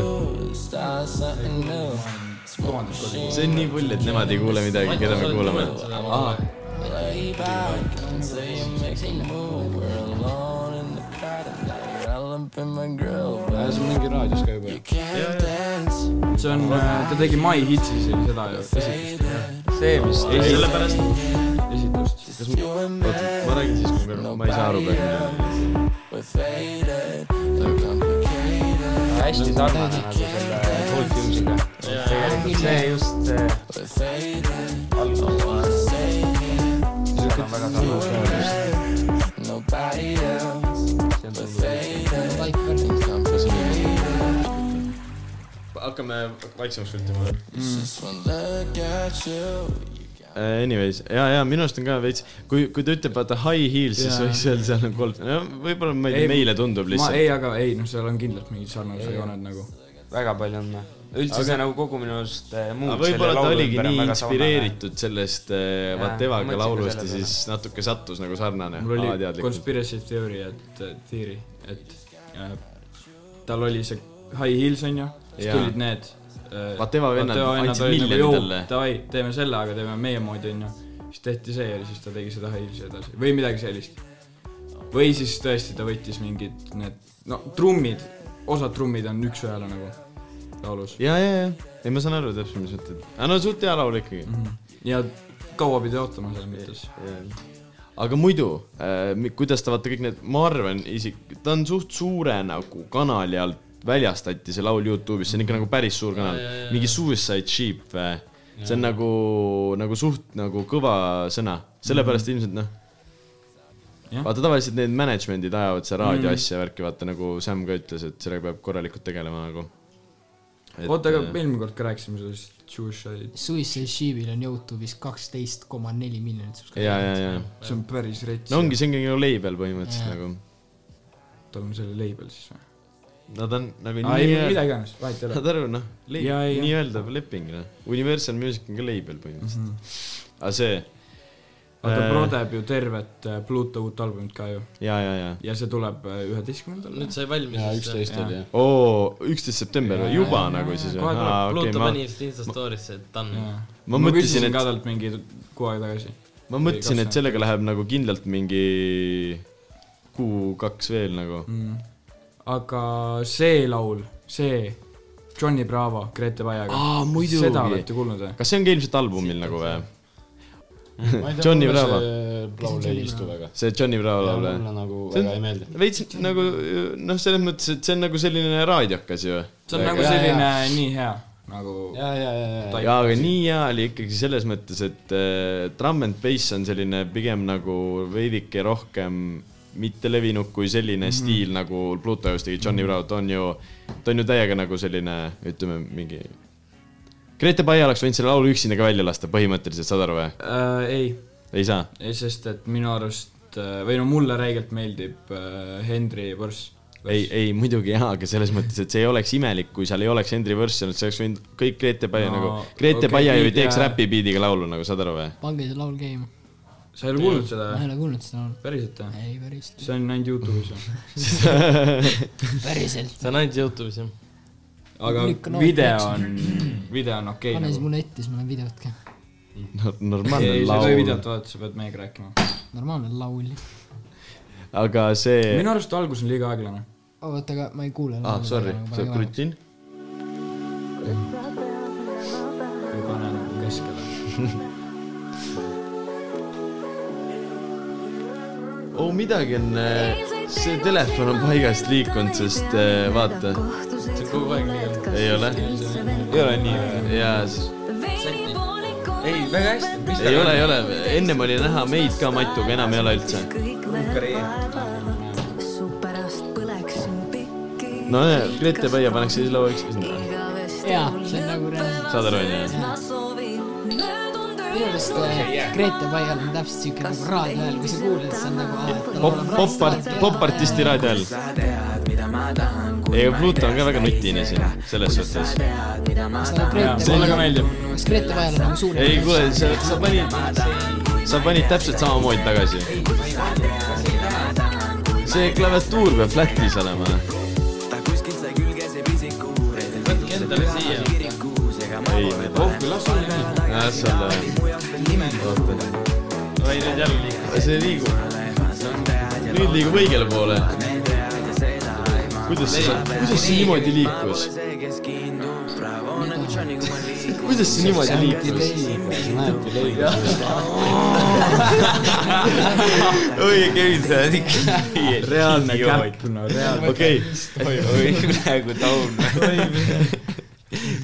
see on nii pull , et nemad ei kuule midagi , keda me kuulame . see on Äh, mingi raadios ka juba . see on , ta tegi My Hitsis oli seda ju , esitust . see , mis sellepärast , esitust . kas ma , oota , ma räägin siis , kui me , ma ei saa aru praegu . hästi sarnane nagu selle Cold Fuse'iga . tegelikult see just äh, algab . väga sarnane . hakkame vaiksemaks kõltima . Äh, Anyways , ja , ja minu arust on ka veits , kui , kui ta ütleb , vaata high heels , siis Jaa. võiks öelda , seal on kolm , no võib-olla ma ei Ei, tea , meile tundub ma lihtsalt . ei , aga ei , noh , seal on kindlalt mingid sarnased jooned nagu . väga palju on . üldse aga... see nagu kogu minu arust äh, muud aga võib-olla ta oligi nii . inspireeritud sellest äh, What Evaga mõtlesin ka laulust selle ja peale. siis natuke sattus nagu sarnane . mul oli conspiracy theory , et , theory , et äh, tal oli see High Heels onju , siis Jaa. tulid need . äh, Vateva vennad andsid nagu, miljoni talle." davai , teeme selle , aga teeme meie moodi onju . siis tehti see ja siis ta tegi seda High Heels'i edasi või midagi sellist . või siis tõesti ta võttis mingid need , no trummid , osad trummid on üks-ühele nagu laulus . ja , ja , ja , ei ma saan aru täpselt , mis mõtled . aga no suht hea laul ikkagi Mhm. mm . ja kaua pidi ootama selles mõttes . -hmm. aga muidu äh, , kuidas ta vaata kõik need , ma arvan isik , ta on suht suure nagu kanali alt väljastati see laul Youtube'is , see on ikka nagu päris suur kanal , mingi Suicide Sheep või . see on nagu , nagu suht nagu kõva sõna , sellepärast ilmselt noh . Mhm. Jah. Mhm. vaata tavaliselt need management'id ajavad seda raadioasja mm. värki , vaata nagu Sam ka ütles , et sellega peab korralikult tegelema nagu . oota , äh, aga me eelmine kord ka rääkisime sellest Suicide , Suicide Sheepil on Youtube'is kaksteist koma neli miljonit ja , ja , ja see on päris rets . no ongi , see ongi nagu label põhimõtteliselt Jaa. nagu . tal on selle label siis või ? Nad on nagu aa , ei , nii , mida iganes , vahet *laughs* ei ole . saad aru noh , Jaa, jaa. nii-öelda leping noh . Universal Music on ka label põhimõtteliselt mm . -hmm. aga see , aga Äh. ta prodeb ju tervet äh, Pluto uut albumit ka ju ja , ja , ja . ja see tuleb äh, üheteistkümnendal . nüüd sai valmis jaa , vist . üksteist oli jah . oo , üksteist september või juba nagu siis kohe tuleb. Pluto pani või ? vist Insta story'sse , et ta on . ma mõtlesin , ka et , talt mingi kuu aega tagasi . ma mõtlesin , et sellega läheb nagu kindlalt mingi kuu-kaks veel nagu mm. . aga see laul , see Johnny Bravo , Grete Baiaga . Aa, muidugi. seda olete kuulnud või ? kas see on ka ilmselt albumil nagu või ? Johnny Bravo. . laul ei istu väga . see Johnny Bravo laul või ? mulle nagu See on- väga ei meeldi . veits nagu noh , selles mõttes , et see on nagu selline raadiokas ju . see on nagu Jaa, selline nii hea nagu . ja , ja , ja , ja , jaa , aga nii hea oli ikkagi selles mõttes , et äh, trumm and bass on selline pigem nagu veidike rohkem mittelevinud kui selline Mhm. mm -hmm. stiil nagu Pluto just tegi , Johnny Bravo , ta on ju , ta on ju täiega nagu selline , ütleme mingi . Grete Pai oleks võinud selle laulu üksinda ka välja lasta põhimõtteliselt , saad aru Äh, või ? ei , ei saa ? sest et minu arust äh, või no mulle räigelt meeldib äh, Henry Võrs . ei , ei muidugi jaa , aga selles mõttes , et see ei oleks imelik , kui seal ei oleks Henry Võrss olnud , see oleks võinud kõik Grete Pai no, No, nagu , Grete okei, okay, Pai ju beat teeks ja- räpi beat'iga laulu nagu , saad aru või ? pange see laul käima . sa ei ole kuulnud seda ma ei või ? ole kuulnud seda laulu . päriselt või ? ei , päriselt . see on ainult Youtube'is või ? päriselt . see on ainult Youtube'is jah . aga Lükkan auto video otsa. on , video on okei pane siis nagu . mulle ette , siis ma näen videot ka . normaalne ei , sa ei tohi laul , videot vaadata , sa pead meiega rääkima . normaalne laul . aga see , minu arust algus on liiga aeglane . Oh, oota , aga ma ei kuule . ah sorry , sa . krutsin . või pane nagu keskele . oo , Oh, midagi on , see telefon on paigast liikunud , sest äh, vaata , see on kogu aeg nii . ei ole . ei ole nii või ? jaa , siis ei , väga hästi , mis ei ole , ei ole , ennem oli näha meid ka Matuga , enam ei ole üldse . no ja , Grete Pai paneks siis laua üksteisele . jaa , see on nagu reaalne . saad aru , onju ? minu arust äh, Grete Baial on täpselt siuke nagu raadio hääl , kui sa kuuled , see on nagu . pop , pop , popartisti raadio all . ei , aga Pluto on ka väga nutine siin , selles suhtes . mulle ka meeldib. . kas Grete Baial on nagu suurem ? ei , kuule , sa , sa panid , sa panid täpselt samamoodi tagasi . see klaviatuur peab flat'is olema . ta kuskilt sai külge see pisiku . võtke endale siia . kirikus ega ma ei , las olla . oota , oi , nüüd jälle liigub . see liigub . nüüd liigub õigele poole . kuidas see , kuidas see niimoodi liikus ? kuidas see niimoodi liikus ? oi , Kevin , sa oled *laughs* ikka reaalne käpp , no reaalne . nagu okei , oi , praegu taun .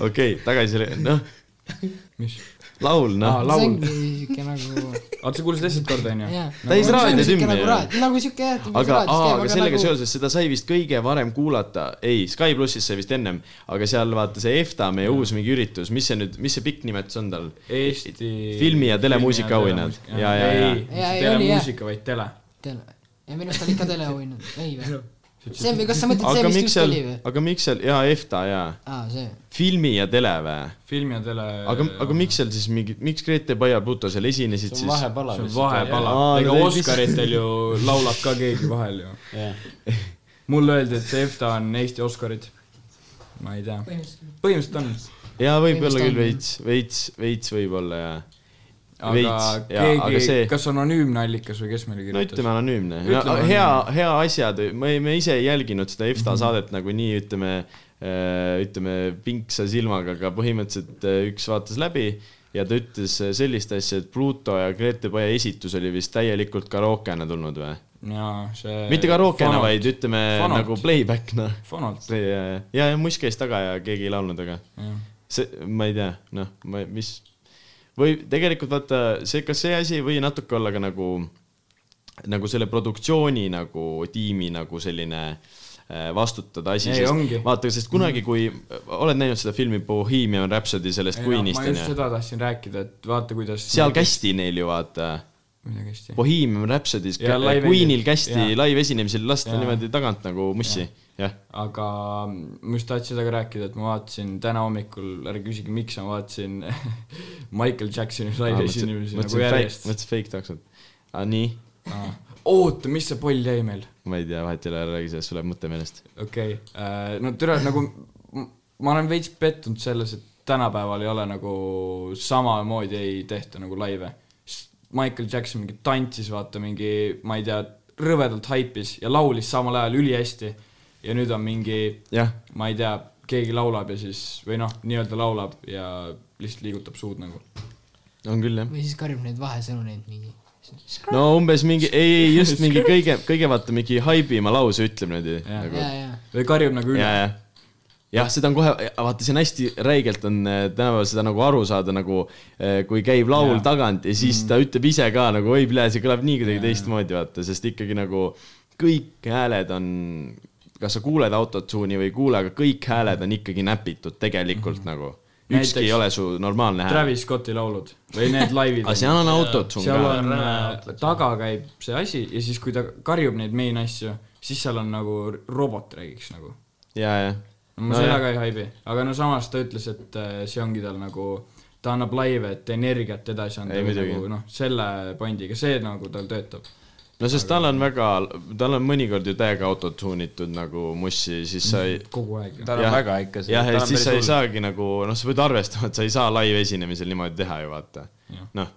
okei , tagasi , noh , mis ? laul , noh aa ,. see laul . ongi siuke nagu , *laughs* oota , sa kuulasid esimest korda , onju ? jah . Täis raadios hümni nagu ju. raad- , nagu siuke jah . aga , aga nagu- sellega seoses , seda sai vist kõige varem kuulata , ei , Sky plussis sai vist ennem , aga seal vaata see EFTA , meie uus mingi üritus , mis see nüüd , mis see pikk nimetus on tal ? Eesti . Filmi- ja telemuusika auhinnad. Ja, ja, ja. ei , Ja, ei, oli, telemuusika , vaid tele . tele , ja minu arust oli ikka teleauhind , ei või ? see või , kas sa mõtled see , aga mis miks just seal oli või ?, aga miks seal , jaa , EFTA , jaa . aa , see . filmi ja tele või ? film ja tele . aga , aga miks seal siis mingi , miks Grete Baia Pluto seal esinesid see on siis ? vahepala see on lihtsalt . vahepala Aa, , ega no ei, mis- Oscaritel ju laulab ka keegi vahel ju . mulle öeldi , et see EFTA on Eesti Oscarid . ma ei tea . põhimõtteliselt on . jaa , võib-olla Põhimõtteliselt küll on. veits , veits , veits võib-olla jaa . aga veits , jaa , aga keegi see , kas anonüümne allikas või kes meile no ütleme kirjutas ? anonüümne Ütleme . hea anonüümne. , Mhm. hea asja , me , me ise ei jälginud seda EFTA saadet nagunii , ütleme , ütleme pinksa silmaga , aga põhimõtteliselt äh, üks vaatas läbi ja ta ütles äh, sellist asja , et Pluto ja Grete Baia esitus oli vist täielikult karaokena tulnud või ? jaa , see . mitte karaokena , vaid . ütleme Fanalt. nagu playback , noh . Fanalt , see ja , ja , ja must käis taga ja keegi ei laulnud , aga jah . see , ma ei tea , noh , ma , mis või tegelikult vaata see , kas see asi ei või natuke olla ka nagu , nagu selle produktsiooni nagu tiimi nagu selline äh, vastutada asi , Ei, ongi. Mm. sest vaata , sest kunagi , kui oled näinud seda filmi Bohemian Rhapsody sellest Ei, no, Queenist ma just onju , seda tahtsin rääkida , et vaata , kuidas seal . kästi neil ju vaata , midagi hästi . Bohemian Rhapsody's Ja live Queenil esi- kästi jaa. live esinemisel lasta Jaa. niimoodi tagant nagu mussi , jah . aga mm, ma just tahtsin seda ka rääkida , et ma vaatasin täna hommikul , ärge küsige , miks ma vaatasin *laughs* Michael Jacksoni laivi esinemisi nagu järjest . Ah, mõtlesin fake taksod . aa , nii , oota , mis see poll jäi meil ? ma ei tea , vahet ei ole , ära räägi sellest , sul läheb mõte meelest . okei okay. , no türa nagu m- ma olen veits pettunud selles , et tänapäeval ei ole nagu samamoodi ei tehta nagu laive . Michael Jackson mingi tantsis , vaata mingi , ma ei tea , rõvedalt haipis ja laulis samal ajal ülihästi ja nüüd on mingi , jah ma ei tea , keegi laulab ja siis või noh , nii-öelda laulab ja lihtsalt liigutab suud nagu . on küll jah . või siis karjub neid vahesõnu neid mingi . no umbes mingi , ei , ei just mingi kõige , kõige vaata mingi haibima lause ütleb niimoodi nagu . ja , ja . või karjub nagu ja , üle . ja , jah , seda on kohe , vaata , see on hästi räigelt on äh, tänapäeval seda nagu aru saada nagu , kui käib laul Jaa. Mm. tagant ja siis ta ütleb ise ka nagu oi , plee , see kõlab nii kuidagi teistmoodi , vaata , sest ikkagi nagu kõik hääled on , kas sa kuuled autotune'i või ei kuule , aga kõik hääled on ikkagi näpitud tegelikult nagu . ükski Mhm. Näiteks ei ole su normaalne hääl . Travis Scotti laulud või need laivid . aga seal on autotune seal ka . on Räme äh, , taga käib see asi ja siis , kui ta karjub neid main asju , siis seal on nagu r- robot räägiks nagu . ja , ja . ma no, seda ka ei haibi , aga no samas ta ütles , et äh, see ongi tal nagu , ta annab laive , et energiat edasi anda Ei, või muidugi. nagu noh , selle pandiga , see nagu tal töötab . no sest tal on väga , tal on mõnikord ju täiega autotuunitud nagu mussi , siis sa ei kogu aeg . Mhm. tal Jah. on väga ikka see . jah , ja siis sa ei . saagi nagu , noh , sa pead arvestama , et sa ei saa live esinemisel niimoodi teha ju vaata . noh ,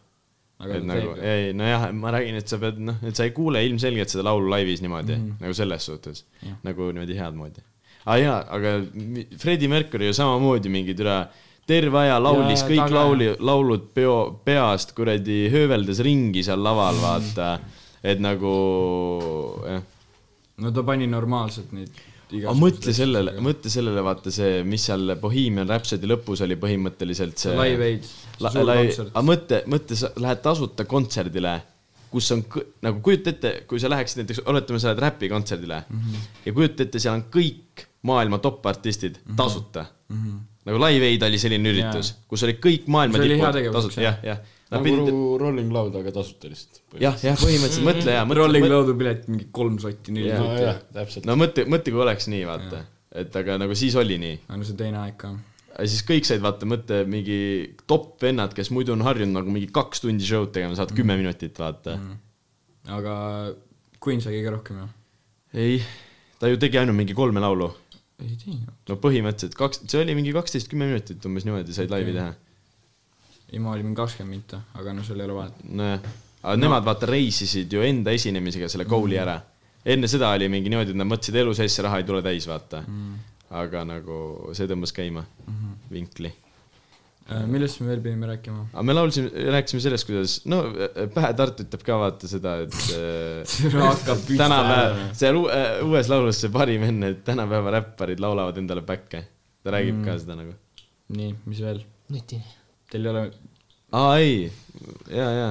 aga et ta nagu teeb ju . ei , nojah , ma räägin , et sa pead , noh , et sa ei kuule ilmselgelt seda laulu laivis niimoodi mm , -hmm. nagu selles suhtes Mhm. Jah. yeah. , nagu niimoodi head moodi . aa jaa , aga mi- Freddie Mercury ju samamoodi mingi türa terve aja laulis Jaa, ja, kõik taga- lauli , laulud peo , peast kuradi hööveldes ringi seal Mhm. laval , vaata , et nagu jah no ta pani normaalselt neid aga mõtle sellele , mõtle sellele , vaata see , mis seal Bohemian Rhapsody lõpus oli põhimõtteliselt see . Live Aid, see äh, La, suur la, kontsert. aga mõtle , mõtle , sa lähed tasuta kontserdile , kus on kõ- nagu kujuta ette , kui sa läheksid näiteks , oletame , sa lähed räpikontserdile mm Mhm. -hmm. ja kujuta ette , seal on kõik maailma top-artistid Mhm. mm -hmm. tasuta mm . -hmm. nagu Live Aid oli selline üritus yeah. , kus olid kõik maailma See oli hea tipud tegevus, eks tasuta , ju? jah , jah . nagu Rolling Loud , aga tasuta lihtsalt . jah , jah , põhimõtteliselt mõtle ja mõtle . Rolling Loud'i pilet mingi kolm sotti , neli Jah. sotti . nojah , täpselt . no mõtle , mõtle , kui oleks nii , vaata , et aga nagu siis oli nii aga no see teine aeg ka . ja siis kõik said vaata mõtte mingi top vennad , kes muidu on harjunud nagu mingi kaks tundi Mhm. show'd tegema , saad kümme minutit vaata mm. . aga Queen sai kõige rohkem ju . ei , ta ju tegi ainult mingi kolme laulu . ei teinud . no põhimõtteliselt kaks , see oli mingi kaksteist , kümme minutit umbes niimoodi said laivi teha . ei , ma olin kakskümmend minta , aga no seal ei ole vahet . nojah , aga no. nemad vaata reisisid ju enda esinemisega selle goal'i ära . enne seda oli mingi niimoodi , et nad mõtlesid elu sees see raha ei tule täis , vaata mm. . aga nagu see tõmbas käima mm -hmm. vinkli . Äh, millest me veel pidime rääkima ? aga me laulsime , rääkisime sellest , kuidas no äh, Pähe Tartu ütleb ka vaata seda , et äh, hakkab püsti tänapäev , seal uue, uues laulus see parim enne , et tänapäeva räpparid laulavad endale päkke . ta räägib mm. ka seda nagu . nii , mis veel ? nutine . Teil ei ole , aa ei , ja , ja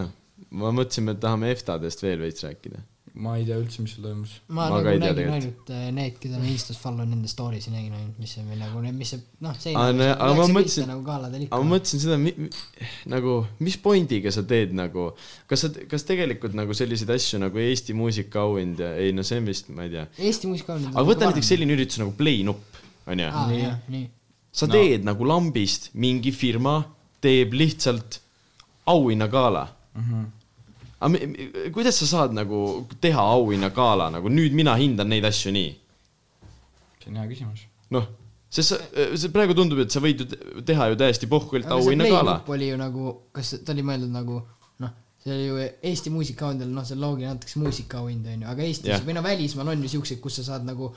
ma mõtlesin , et tahame EFTA-dest veel veits rääkida . ma ei tea üldse , mis seal toimus . ma Ma ka nagu ei tea nägin tegelikult. ainult äh, need , keda ma Instas follow in nende story'si nägin ainult , mis see meil nagu , mis see , noh , see Aa, no ja- aga ma mõtlesin- nagu galadel ikka aga ma . mõtlesin seda , nagu , mis pointiga sa teed nagu , kas sa , kas tegelikult nagu selliseid asju nagu Eesti muusikaauhind ja ei no see on vist , ma ei tea . Eesti muusika on aga võta näiteks selline üritus nagu Play nupp , onju . aa , jah , nii . sa teed no. nagu lambist , mingi firma teeb lihtsalt auhinnagala mm . -hmm. aga mi- mi- kuidas sa saad nagu teha auhinnagala , nagu nüüd mina hindan neid asju nii see on hea küsimus . noh , sest sa , see praegu tundub , et sa võid ju te- teha ju täiesti pohkulilt aga see auhinnagala . play-up oli ju nagu , kas ta oli mõeldud nagu noh , see oli ju Eesti muusikaauhindadel , noh , see loogiline antakse muusikaauhind , on ju , aga Eestis Jah. yeah. või no välismaal on ju siukseid , kus sa saad nagu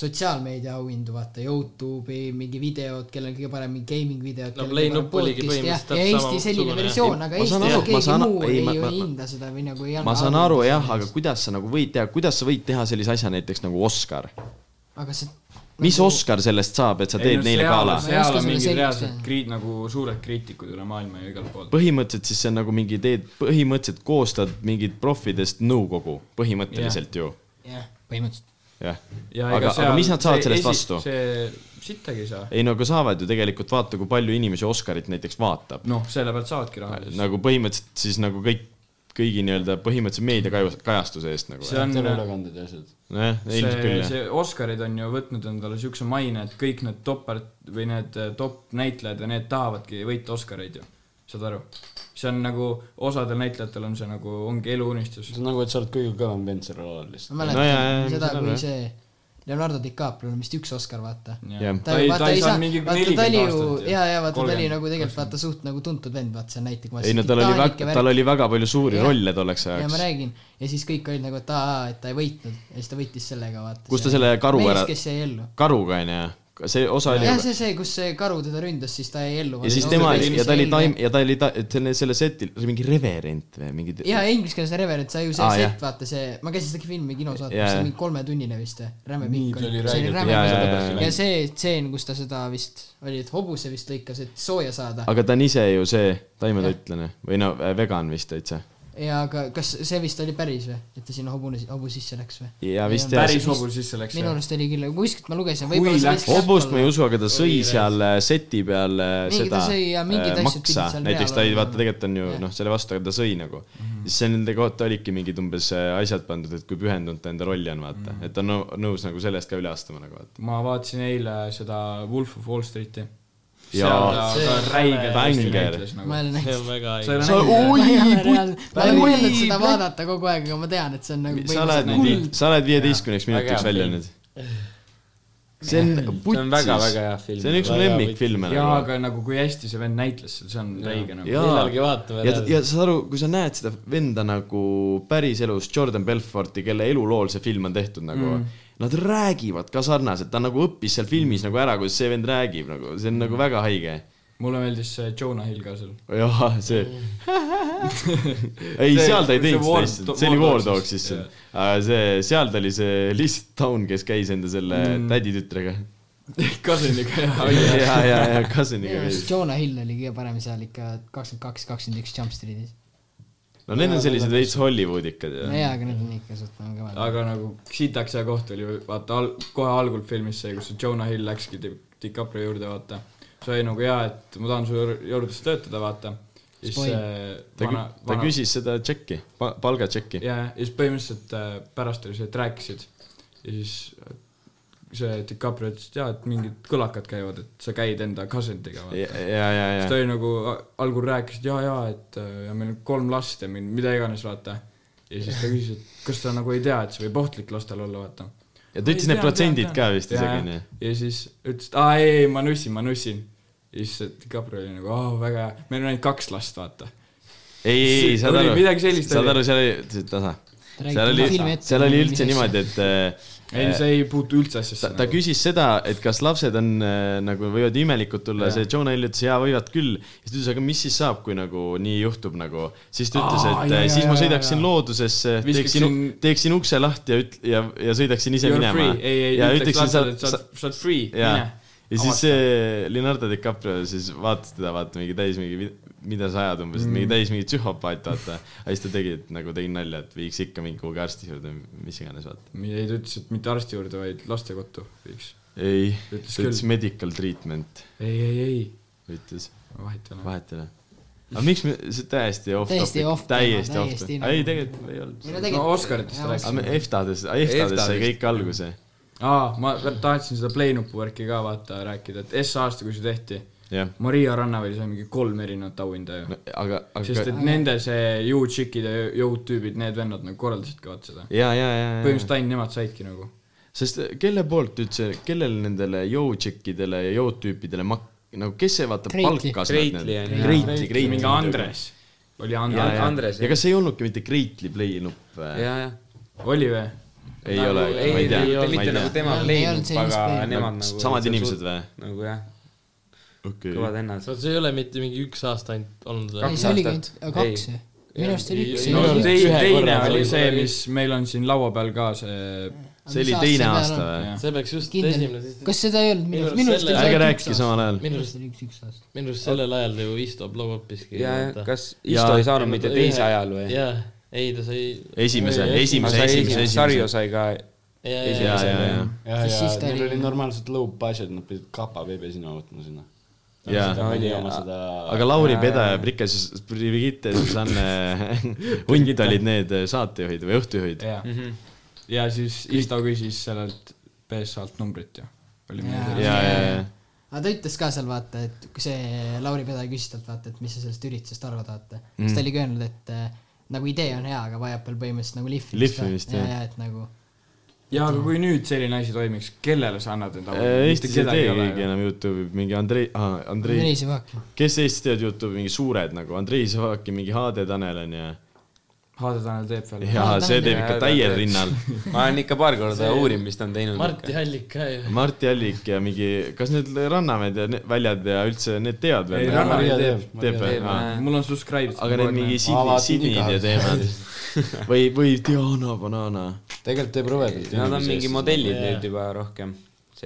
sotsiaalmeedia auhindu , vaata , Youtube'i mingi videod , kellel kõige parem mingi gaming videod . No Play-Nupp oligi põhimõtteliselt ja täpselt Eesti selline samasugune, jah. versioon , aga Ma saan aru, Eestis ju ma keegi saan- muu ei, ei ma- ju ma- ei hinda seda või nagu ei anna . ma saan aru jah , aga kuidas sa nagu võid teha , kuidas sa võid teha sellise asja näiteks nagu Oscar ? aga see . mis Oscar sellest saab , et sa teed neile gala ? Ma ei seal oska on sulle mingid selgeks reaalsed teha. kriit- , nagu suured kriitikud üle maailma ja igal pool . põhimõtteliselt siis see on nagu mingi , teed , põhimõtteliselt koostad mingid profidest nõukogu , põhimõtteliselt ju , jah , põhimõtteliselt . jah . aga , aga mis nad saavad sellest vastu ? see sittagi ei saa . ei no aga saavad ju tegelikult , vaata , kui palju inimesi Oscarit näiteks vaatab . noh , selle pealt saavadki raha siis . nagu põhimõtteliselt siis nagu kõik , kõigi nii-öelda põhimõtteliselt meediakajastuse eest nagu . see on , teleülekanded ja asjad . nojah , see ilmselt , küll jah . see Oscarid on ju võtnud endale siukse maine , et kõik need topart- või need eh, top näitlejad ja need tahavadki võita Oscareid ju . saad aru ? see on nagu , osadel näitlejatel on see nagu , ongi eluunistus see . on nagu , et sa oled kõige kõvem vend sellel alal lihtsalt . ma No jaa, jaa, mäletan seda , seda kui jah. see Leonardo DiCaprio , vist üks Oscar , vaata Jah. ta ju vaata ei saa , vaata ta oli ju , jaa , jaa , vaata ta oli 30. nagu tegelikult vaata suht nagu tuntud vend , vaata see on näitlik . ei no tal oli väga , tal oli väga palju suuri Jah. rolle tolleks ja ma ajaks . räägin ja siis kõik olid nagu , et aa , et ta ei võitnud ja siis ta võitis sellega , vaata . Kus ta selle karu ära- mees , kes jäi ellu . karuga onju , see osa oli jah , see , see , kus see karu teda ründas , siis ta jäi ellu . ja siis tema ja ta oli taim- ja ta oli ta- , selle , selle setil , see oli mingi reverent või mingi jaa , inglise keeles Reverend , see ju see Aa, jah. set , vaata see , ma käisin seda filmi kinos Jaa, vaatamas , see jah. on mingi kolmetunnine vist , räme pikk ta oli oli . see oli räägitud, räme jaa, jaa, jaa, pikk jaa. ja see tseen , kus ta seda vist oli , et hobuse vist lõikas , et sooja saada . aga ta on ise ju see taimetoitlane või no äh, vegan vist täitsa . ja aga kas see vist oli päris või , et ta sinna hobune , hobu sisse läks või ? ja vist jah . päris hobul sisse läks . minu arust oli küll , kuskilt ma lugesin , võib-olla see läks- võis hobust ma ei usu , aga ta sõi seal äh, seti peal äh, Mingi ta seda sõi ja mingid äh, asjad pidid maksa seal , näiteks peal ta ei , olema. Mhm. vaata tegelikult on ju noh , selle vastu , aga ta sõi nagu mm . -hmm. siis see nende kohta olidki mingid umbes äh, asjad pandud , et kui pühendunud ta enda rolli on , vaata mm , Mhm. -hmm. et ta on nõ- nõus nagu sellest ka üle astuma nagu vaata . ma vaatasin eile seda Wolf of Wall Streeti . Jaa. seal ta räigelt hästi Banger. näitles nagu . ma ei ole see näinud . on väga sa ei haige . ole näinud ? ma ei ole reaalselt , ma olen oi, mõelnud seda plätt. vaadata kogu aeg , aga ma tean , et see on sa nagu oled põhimõtteliselt nüüd kuld ., sa oled viieteistkümneks minutiks Väga hea välja film. nüüd . see on see on putsis väga-väga hea film . see on üks mu Väga hea lemmikfilme jaa , nagu . aga nagu kui hästi see vend näitles seal , see on räige nagu . millalgi vaatame ja ära. , ja saad aru , kui sa näed seda venda nagu päriselus Jordan Belforti , kelle elulool see film on tehtud nagu mm. , nad räägivad ka sarnaselt , ta nagu õppis seal filmis nagu ära , kuidas see vend räägib nagu , see on mm. nagu väga haige . mulle meeldis see Jonah Hill ka seal . jah , see . ei , See- seal ta ei see teinud War- seda lihtsalt , see oli War War Dogsist, Dogs issand jah. . aga see , seal ta oli see lihtsalt taun , kes käis enda selle mm. täditütrega . Oh, *laughs* Kaseniga ja *laughs* ja , ja , ja Cousiniga minu käis arust . Jonah Hill oli kõige parem seal ikka kakskümmend kaks , kakskümmend üks Jump Streetis . no need on sellised veits Hollywoodikad no ja . jaa , aga need on ikka suht nagu kõvad . aga nagu sitaks hea koht oli , vaata al- , kohe algul filmis see , kus see Jonah Hill läkski Di- DiCaprio juurde , vaata . see oli nagu hea , et ma tahan su juur- juures töötada , vaata . siis Spoil. see ta , ta . küsis seda tšekki , palgatšekki . ja , ja siis põhimõtteliselt äh, pärast oli see , et rääkisid ja siis äh, see DiCaprio ütles , et jaa , et mingid kõlakad käivad , et sa käid enda cousin'iga , vaata ja , ja , ja , siis ta ja . oli nagu , algul rääkis , et jaa , jaa , et äh, ja meil on kolm last ja min- mida iganes , vaata . ja siis ta küsis , et kas ta nagu ei tea , et see võib ohtlik lastel olla , vaata . ja ta ütles need protsendid ka vist isegi nii . ja siis ütles , et aa ei , ei ma nussin , ma nussin . ja siis see Gabriel oli nagu , aa väga hea , meil on ainult kaks last , vaata . ei , ei , ei , saad Oli aru midagi sellist , saad oli. aru , seal oli , tasa , Ta räägib seal filmi oli , ette, seal oli mis üldse asja. niimoodi , et äh, ei , see ei puutu üldse asjasse nagu. ta , ta . küsis seda , et kas lapsed on äh, nagu võivad imelikud tulla , see Jonah Hill ütles jaa , võivad küll . siis ta ütles , aga mis siis saab , kui nagu nii juhtub nagu , siis ta ütles , Aa, et jaa, äh, jaa, siis ma jaa, sõidaksin jaa. loodusesse , teeksin Viskaksin- , teeksin ukse lahti ja üt- ja , ja sõidaksin ise You are minema free , ei , ei ja ütleks ütleksin sa lapsele ,, et sa sa oled , sa oled free , jaa mine . ja Avasta. siis see Leonardo DiCaprio siis vaatas teda , vaata mingi täis mingi , mida sa ajad umbes , et Mm. mingi täis mingi psühhopaat , vaata . aga siis ta tegi , et nagu tegin nalja , et viiks ikka mingi kuhugi arsti juurde , mis iganes , vaata . ei , ta ütles , et mitte arsti juurde , vaid lastekoddu viiks . ei , Ta ta ütles ütles küll. medical treatment , ei , ei , ei , ütles , vahet ei ole . vahet ei ole . aga miks me , see täiesti off Täiesti off topic , teema, täiesti off täiesti topic , nagu- ei tegelikult ei olnud . no Oscaritest ta aga rääkis . me EFTA-des , EFTA-des sai EFTA-dest. kõik alguse , aa , ma tahtsin seda Play nupu värki ka vaata rääkida , et S aasta , kui see tehti , jah . Maria Rannaväli sai mingi kolm erinevat auhinda ju . aga , sest aga et nende see you-chick'id ja you-tüübid , need vennad nagu korraldasidki vaata seda . ja , ja , ja , ja . põhimõtteliselt ainult nemad saidki nagu . sest eh, kelle poolt üldse , kellele nendele jõutšekkidele ja jõutüüpidele mak- , nagu kes see vaata Kreitli. palkas Kreitli on ju. Kreitli , Kreitli . mingi Andres oli ja , Andres , ja , Andres, ja jah. kas ei olnudki mitte Kreitli play nupp ? ja , ja . oli või ? ei ole , Nagu ei , ma ei ei tea , olnud ma ei mitte nagu tea . tema Ei olnud pleenup , sellist aga pleenup. nemad nagu . samad inimesed või ? nagu jah , okei . kõvad ennast . see ei ole mitte mingi üks aasta ainult olnud või ? ei , see oligi aastat. ainult kaks Ei. ju . minu arust oli üks . no olnud. tei- Ühe teine korra oli oli- see , mis meil on siin laua peal ka see , see oli teine aasta või ? jah. see peaks just esimene , kindel . kas seda ei olnud minu arust , Minu minu arust arust oli selle- see ärge ainult rääkige üks aasta . samal ajal . minu arust oli üks , üks aasta . minu arust sellel ajal ju Isto Blogopiski . ja , ja kas Isto ei saanud mitte teise ajal või ? jaa , ei ta sai . Esimese, esimese, sai esimese, esimese esimese. sarja sai ka . ja , ja , esimese . ja , ja , Siis- ja siis ta neil oli- oli normaalselt low budget , nad pidid kapa veebesina võtma sinna . ja , ja . oli jaa. oma seda . aga Lauri Peda ja Brike , Brigitte , Susanne Hunt olid need saatejuhid või õhtujuhid . jah . Mhm. ja siis Isto küsis sellelt PSA-lt numbrit ju . oli meil Jaa. see . ja , ja , ja aga ta ütles ka seal vaata , et kui see Lauri Pedaja küsis talt vaata , et mis sa sellest üritusest arvad , vaata mm. . siis ta oligi öelnud , et äh, nagu idee on hea , aga vajab veel põhimõtteliselt nagu lihvimist . Lihvimist, jah . jah. ja , et nagu ja aga kui nüüd selline asi toimiks , kellele sa annad enda Äh, Eestis ei tee keegi enam Youtube'i , mingi Andrei , Andrei , Rene Sivak . kes Eestis teevad Youtube'i , mingi suured nagu Andrei Savaki , mingi HD Tanel on ju . Haade Tanel teeb veel . ja Tanel see teeb teeb. ikka täiel rinnal . ma olen ikka paar korda uurinud , mis ta on teinud . Marti Hallik ka ju . Marti Allik ja mingi , kas need Rannamäed ja ne- väljad ja üldse need ei , teevad veel ? Rannar Maria teeb . teeb. teeb või teeb, ? jah. mul on subscribe . aga need mingi Aa, Sydney , vaata, Sydney ikka. *laughs* teemad või , või Diana Banana . tegelikult teeb rõvedalt . Nad on mingi modellid nüüd juba rohkem .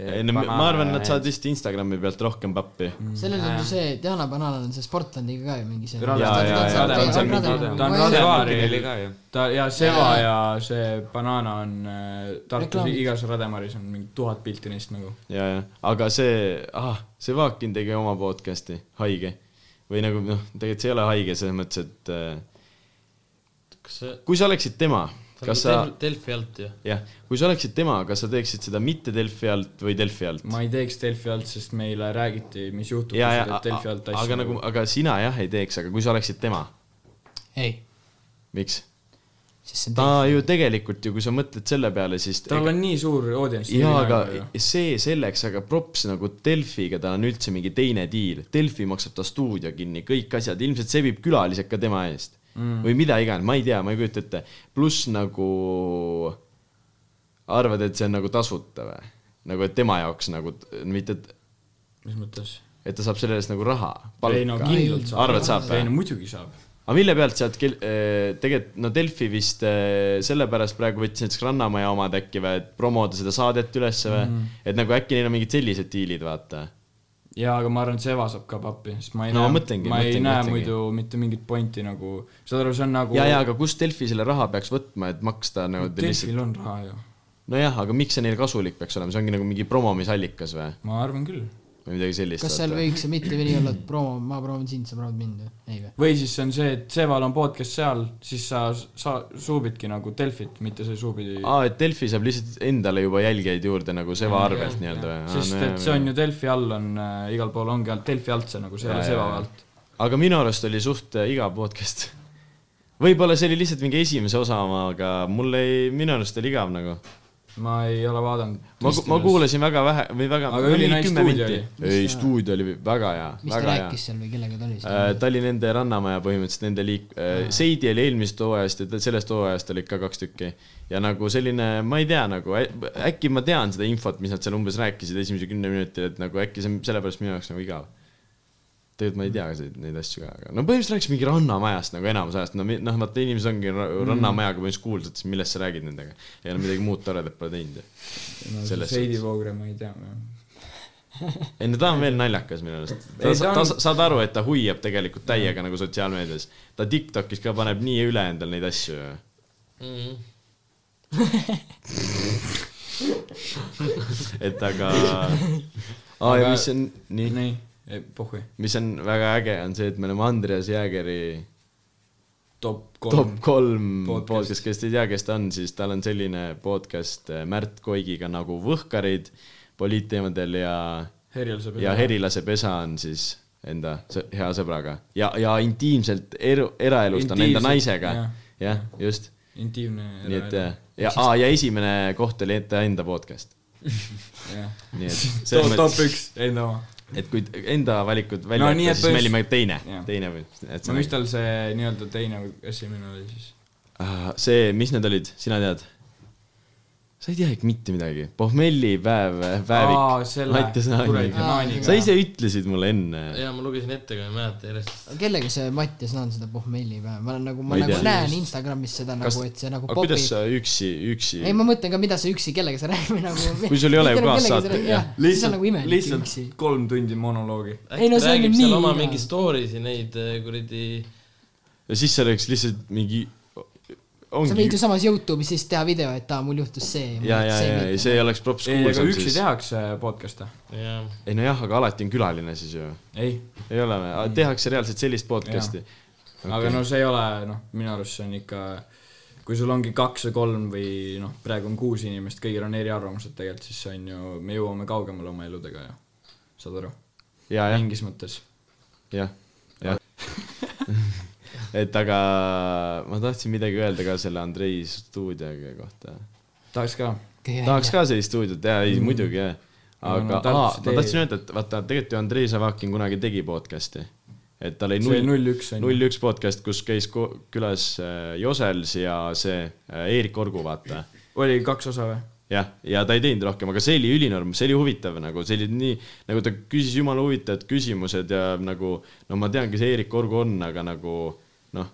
ei no ma arvan , nad saavad vist Instagrami pealt rohkem pappi . Mm. sellel on ju see , Diana Bananal on see Sportlandiga ka ju mingi see . Rade- jaa, jaa, jaa, ta on seal mingi- ta on Rade Rade- Vaagil oli ka ju . ta ja Seva ja see Banana on äh, Tartus Reklaamid. igas Rademaris on mingi tuhat pilti neist nagu . ja , ja , aga see , ah , see Vaakin tegi oma podcast'i , haige . või nagu noh , tegelikult see ei ole haige selles mõttes , et äh, kas see , kui sa oleksid tema , see on kas sa , Delfi alt ju . jah , kui sa oleksid tema , kas sa teeksid seda mitte Delfi alt või Delfi alt ? ma ei teeks Delfi alt , sest meile räägiti , mis juhtub , kui ja , sa ja teed , Delfi alt asju . aga nagu , aga sina jah ei teeks , aga kui sa oleksid tema , ei , miks ? sest see on ta ju tegelikult ju , kui sa mõtled selle peale , siis tal on nii suur audience . nagu jaa , aga see selleks , aga props nagu Delfiga , tal on üldse mingi teine diil , Delfi maksab ta stuudio kinni , kõik asjad , ilmselt see viib külalised ka tema eest mm. . või mida iganes , ma ei tea , ma ei kujuta ette , pluss nagu arvad , et see on nagu tasuta või ? nagu , et tema jaoks nagu t- mitte , mis mõttes ? et ta saab selle eest nagu raha , ei no palka . kindlalt saab . arvad , saab ei või no ? muidugi saab . aga mille pealt sealt , tegelikult no Delfi vist eh, sellepärast praegu võttis näiteks Rannamaja omad äkki või , et promoda seda saadet ülesse või mm. , Mhm. et nagu äkki neil on mingid sellised diilid , vaata . jaa , aga ma arvan , et Seva saab ka pappi , sest ma ei No näe , ma mõtlengi, ma ei mõtlengi, näe mõtlengi. muidu mitte mingit pointi nagu , saad aru , see on nagu ja , ja aga kust Delfi selle raha peaks võtma , et maksta nagu te lihtsalt , Delfil on raha ju , nojah , aga miks see neile kasulik peaks olema , see ongi nagu mingi promomisallikas või , ma arvan küll . või midagi sellist . kas seal ? võiks see mitte veel olla , et promo , ma proovin sind , sa proovid mind või ? ei või ? või siis see on see , et Seval on podcast seal , siis sa , sa suubidki nagu Delfit , mitte sa ei suubi aa , et Delfi saab lihtsalt endale juba jälgijaid juurde nagu Seva arvelt nii-öelda või ? sest et see on ju Delfi all on äh, , igal pool ongi ainult Delfi alt see nagu , see ei ole Jaa, Seva jaa, jaa. alt . aga minu arust oli suht äh, igav podcast . võib-olla see oli lihtsalt mingi esimese osa oma , aga mul ei , minu arust oli igav nagu . ma ei ole vaadanud . ma , ma kuulasin väga vähe või väga . Aga ülinai stuudio ei , stuudio oli väga hea , mis ta väga hea . rääkis seal või kellega ta oli Äh, siis ? ta oli nende Rannamaja põhimõtteliselt nende liik- , Seidi oli eelmisest hooajast ja ta- sellest hooajast oli ka kaks tükki . ja nagu selline , ma ei tea nagu , äkki ma tean seda infot , mis nad seal umbes rääkisid esimese kümne minuti , et nagu äkki see on sellepärast minu jaoks nagu igav . tegelikult ma ei tea seda- neid asju ka , aga no põhimõtteliselt rääkis mingi Rannamajast nagu enamus ajast , no mi- noh , vaata inimesed ongi ra- Rannamajaga põhimõtteliselt kuulsad , siis millest sa räägid nendega . ei ole midagi muud toredat pole teinud ju . selles Seidi suhtes. Voogre ma ei tea . ei no ta on veel naljakas minu arust . ta, Ei, ta ta, on- ta , saad aru , et ta hoiab tegelikult täiega nagu sotsiaalmeedias . ta Tiktokis ka paneb nii üle endal neid asju . Mhm. et aga , aa ja Aga- mis on , nii , nii , pohhui . mis on väga äge , on see , et me oleme Andreas Jäägeri top top kolm . kolm podcast. podcast , kes te ei tea , kes ta on , siis tal on selline podcast äh, Märt Koigiga nagu Võhkarid poliitteemadel ja Herjal saab ja . Herilase pesa on siis enda sõ- hea sõbraga ja , ja intiimselt eru , eraelust on enda Intiimselt, naisega jah. . jah , just , intiimne . nii et ja , ja , ja esimene koht oli enda enda podcast . nii *laughs* et selles top mõttes , üks , enda oma . et kui enda valikud No välja jätta nii, no, , et siis me põhimõtteliselt- olime teine Jah. , teine või ? no mis tal see nii-öelda teine või esimene oli siis ? see , mis need olid , sina tead ? sa ei tea ikka mitte midagi , pohmellipäev , Aa, päevik , selle. Kuradi Mati Sõnamägi naaniga. . sa ise ütlesid mulle enne . ja ma lugesin ette , aga ma ei mäleta järjest . kellega see Mattias Naan seda pohmelli pähe , ma olen nagu , Ma ma ei nagu tea. näen Instagramis seda Kas- nagu , et see nagu aga popib kuidas . sa üksi , üksi ? ei , ma mõtlen ka , mida sa üksi , kellega sa räägid nagu . *laughs* Kui sul ei ole ju kaassaateid, jah. siis on nagu imelik lihtsalt üksi . kolm tundi monoloogi . Ei, no see on ju räägib seal nii oma igav. mingi story si neid eh, kuradi , ja siis see oleks lihtsalt mingi , sa võid ongi ju , samas Youtube'is siis teha video , et aa , mul juhtus see . ja , ja , ja , ja see . oleks props ei , aga kuulsam üksi siis . tehakse podcast'e ? jah . ei nojah , aga alati on külaline siis ju , ei , ei ole või , Mm. tehakse reaalselt sellist podcast'i . aga no see ei ole , noh , minu arust see on ikka , kui sul ongi kaks või kolm või noh , praegu on kuus inimest , kõigil on eriarvamused tegelikult , siis see on ju , me jõuame kaugemale oma eludega ju . saad aru ? ja , jah , mingis mõttes . jah , jah . et aga ma tahtsin midagi öelda ka selle Andrei stuudioga kohta . tahaks ka . tahaks ka sellist stuudiot teha , ei muidugi jah . Mm. No, aga no, aa, Tartus ma ei- tahtsin öelda , et vaata , tegelikult ju Andrei Zavakin kunagi tegi podcast'i . et tal oli see null , null üks on ju . null üks podcast , kus käis ko- külas äh, Josels ja see äh, Eerik Orgu , vaata . oli kaks osa või ? jah , ja ta ei teinud rohkem , aga see oli ülinorm , see oli huvitav nagu , see oli nii , nagu ta küsis jumala huvitavad küsimused ja nagu no ma tean , kes Eerik Orgu on , aga nagu noh ,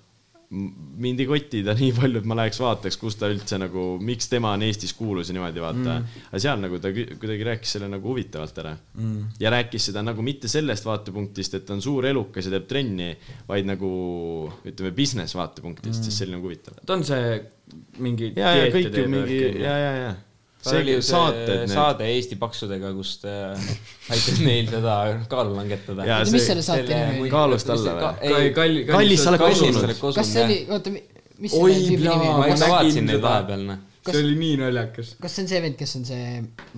mind ei koti ta *laughs* nii palju , et ma läheks vaataks , kus ta üldse nagu , miks tema on Eestis kuulus ja niimoodi vaata mm. . aga seal nagu ta kü- kuidagi rääkis selle nagu huvitavalt ära mm. . ja rääkis seda nagu mitte sellest vaatepunktist , et ta on suur elukas ja teeb trenni , vaid nagu ütleme business vaatepunktist mm. , siis see oli nagu huvitav . ta on see mingi . ja , ja kõik ju mingi ja , ja , ja . see oli ju äh, see . saade Eesti paksudega , kus ta aitas neil seda kaalu langetada . Jaa, mis selle saate nimi oli ? kaalust alla või? ei , Kalli- kallis , kallis sa oled kosunud. kas see oli , oota , mis Oi, selle tüübi jaa, nimi ma oli ei ikka ? nägin vaatasin neid seda. vahepeal , noh . Kas- see oli nii naljakas . kas see on see vend , kes on see ,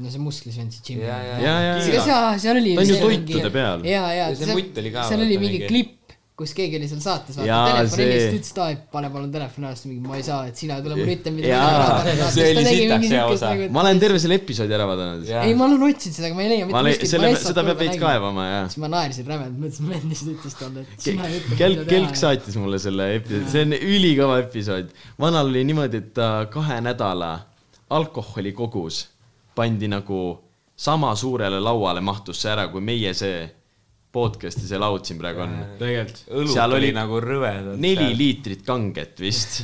no see musklis vend , see Jimmy ? ja , ja , ja , ja , ja . jaa , seal oli . Ta on ju toitude peal. ja , ja Ja see mutt oli ka, seal oli vaata, mingi mingi- klipp , kus keegi oli seal saates , vaata Jaa, telefoni see- eest ütles , et aa , pane palun telefoni ära , siis mingi ma ei saa , et sina tule mulle ütle , mida Jaa, see oli sitaks hea osa. ma olen terve selle episoodi ära vaadanud . nagu, ei , ma olen otsinud seda , aga ma ei leia ma mitte olen , kuskilt . selle , seda peab veits . kaevama ja . siis ma naersin rämedalt , mõtlesin , et vend lihtsalt ütles talle , et sina ei ütle . kelk , kelk . saatis mulle selle episoodi , see on ülikõva episood . vanal oli niimoodi , et ta kahe nädala alkoholikogus pandi nagu sama suurele lauale mahtus see ära , kui meie see podcast'i see laud siin praegu on . tegelikult . õlut Seal oli, oli oli nagu rõvedalt . neli liitrit kanget *laughs* vist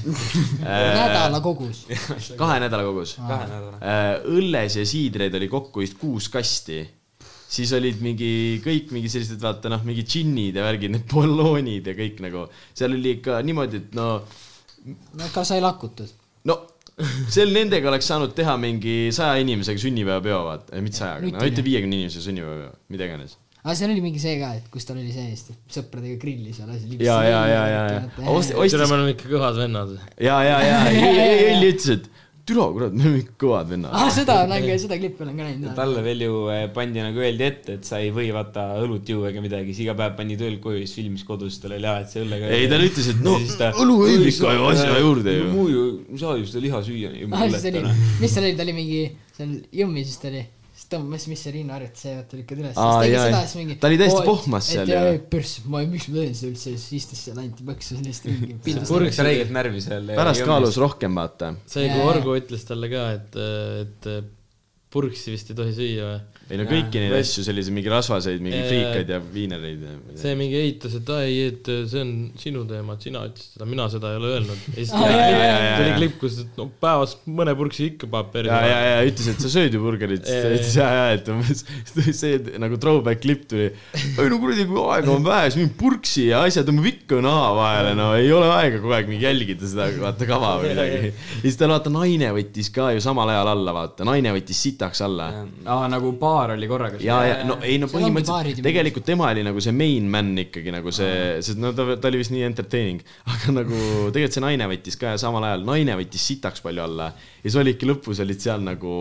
nädala kogus . *laughs* kahe nädala kogus . kahe nädala . Äh, õlles ja siidreid oli kokku vist kuus kasti . siis olid mingi kõik mingi sellised , vaata noh , mingi džinnid ja värgid , need bolloonid ja kõik nagu , seal oli ikka niimoodi , et no , no ka sai lakutud . no seal nendega oleks saanud teha mingi saja inimesega sünnipäevapeo , vaata , mitte sajaga , no nutine. ütle viiekümne inimesega sünnipäevapeo , mida iganes . aga seal oli mingi see ka , et kus tal oli see Eesti sõpradega grilli seal asi . ja , ja , ja , ja , ja , ja . ostis tere , me oleme ikka kõvad vennad . ja , ja , ja , Jõll ütles , et türa kurat , me oleme ikka kõvad vennad . ah seda olen ka , seda klippi olen ka näinud . talle veel ju eh, pandi nagu öeldi ette , et sa ei või vaata õlut juua ega midagi , siis iga päev pani tööl koju , siis filmis kodus tal oli jah , et see õllega . ei , ta ütles , et no Ja siis ta- õlu võib ikka ju asja juurde ju . muu ju , ei saa ju seda liha süüa . Nagu ah , siis oli , mis seal oli , ta oli mingi , seal Jõmmis vist oli , siis tõmbas , mis see Riina Arvet , see vaata lükkad üles , Aa, siis tegi jaa, seda jaa. ja siis mingi Ta oli täiesti pohmas seal ja ja- . pörs , ma , miks ma teen seda üldse , siis istus seal anti põksu sellest *laughs* mingi pildus . purjus räigelt närvi seal . pärast kaalus . rohkem , vaata . see , kui Jaa. Orgo ütles talle ka , et , et purksi vist ei tohi süüa või ? ei no kõiki neid asju , selliseid mingi rasvaseid , mingi Jaa. friikaid ja viinereid ja . see mingi eitas , et ai , et see on sinu teema , et sina ütlesid seda , mina seda ei ole *laughs* öelnud . ja siis jaa, jaa, jaa, tuli jaa. klipp , kus et no päevas mõne purksi ikka paneb ja , ja perse ., ja ütles , et sa sööd ju burgerit , siis ta Jaa, ütles ja , ja , et umbes *laughs* see nagu throwback klipp tuli . ei no kuradi , kui aega on vähe , siis mingi purksi ja asja tõmbab ikka naha vahele , no ei ole aega kogu aeg mingi jälgida seda , vaata kava või midagi . ja siis tal vaata naine võttis ka ju samal ajal alla , vaata , naine võttis sitaks alla Äh. aa , nagu paar oli korraga . ja , ja no ei no Seal ongi baarid põhimõtteliselt ja tegelikult tema oli nagu see main man ikkagi nagu see , sest no ta, ta oli vist nii entertaining , *laughs* aga nagu tegelikult see naine võttis ka ja samal ajal naine võttis sitaks palju alla . ja siis olidki lõpus olid seal nagu ,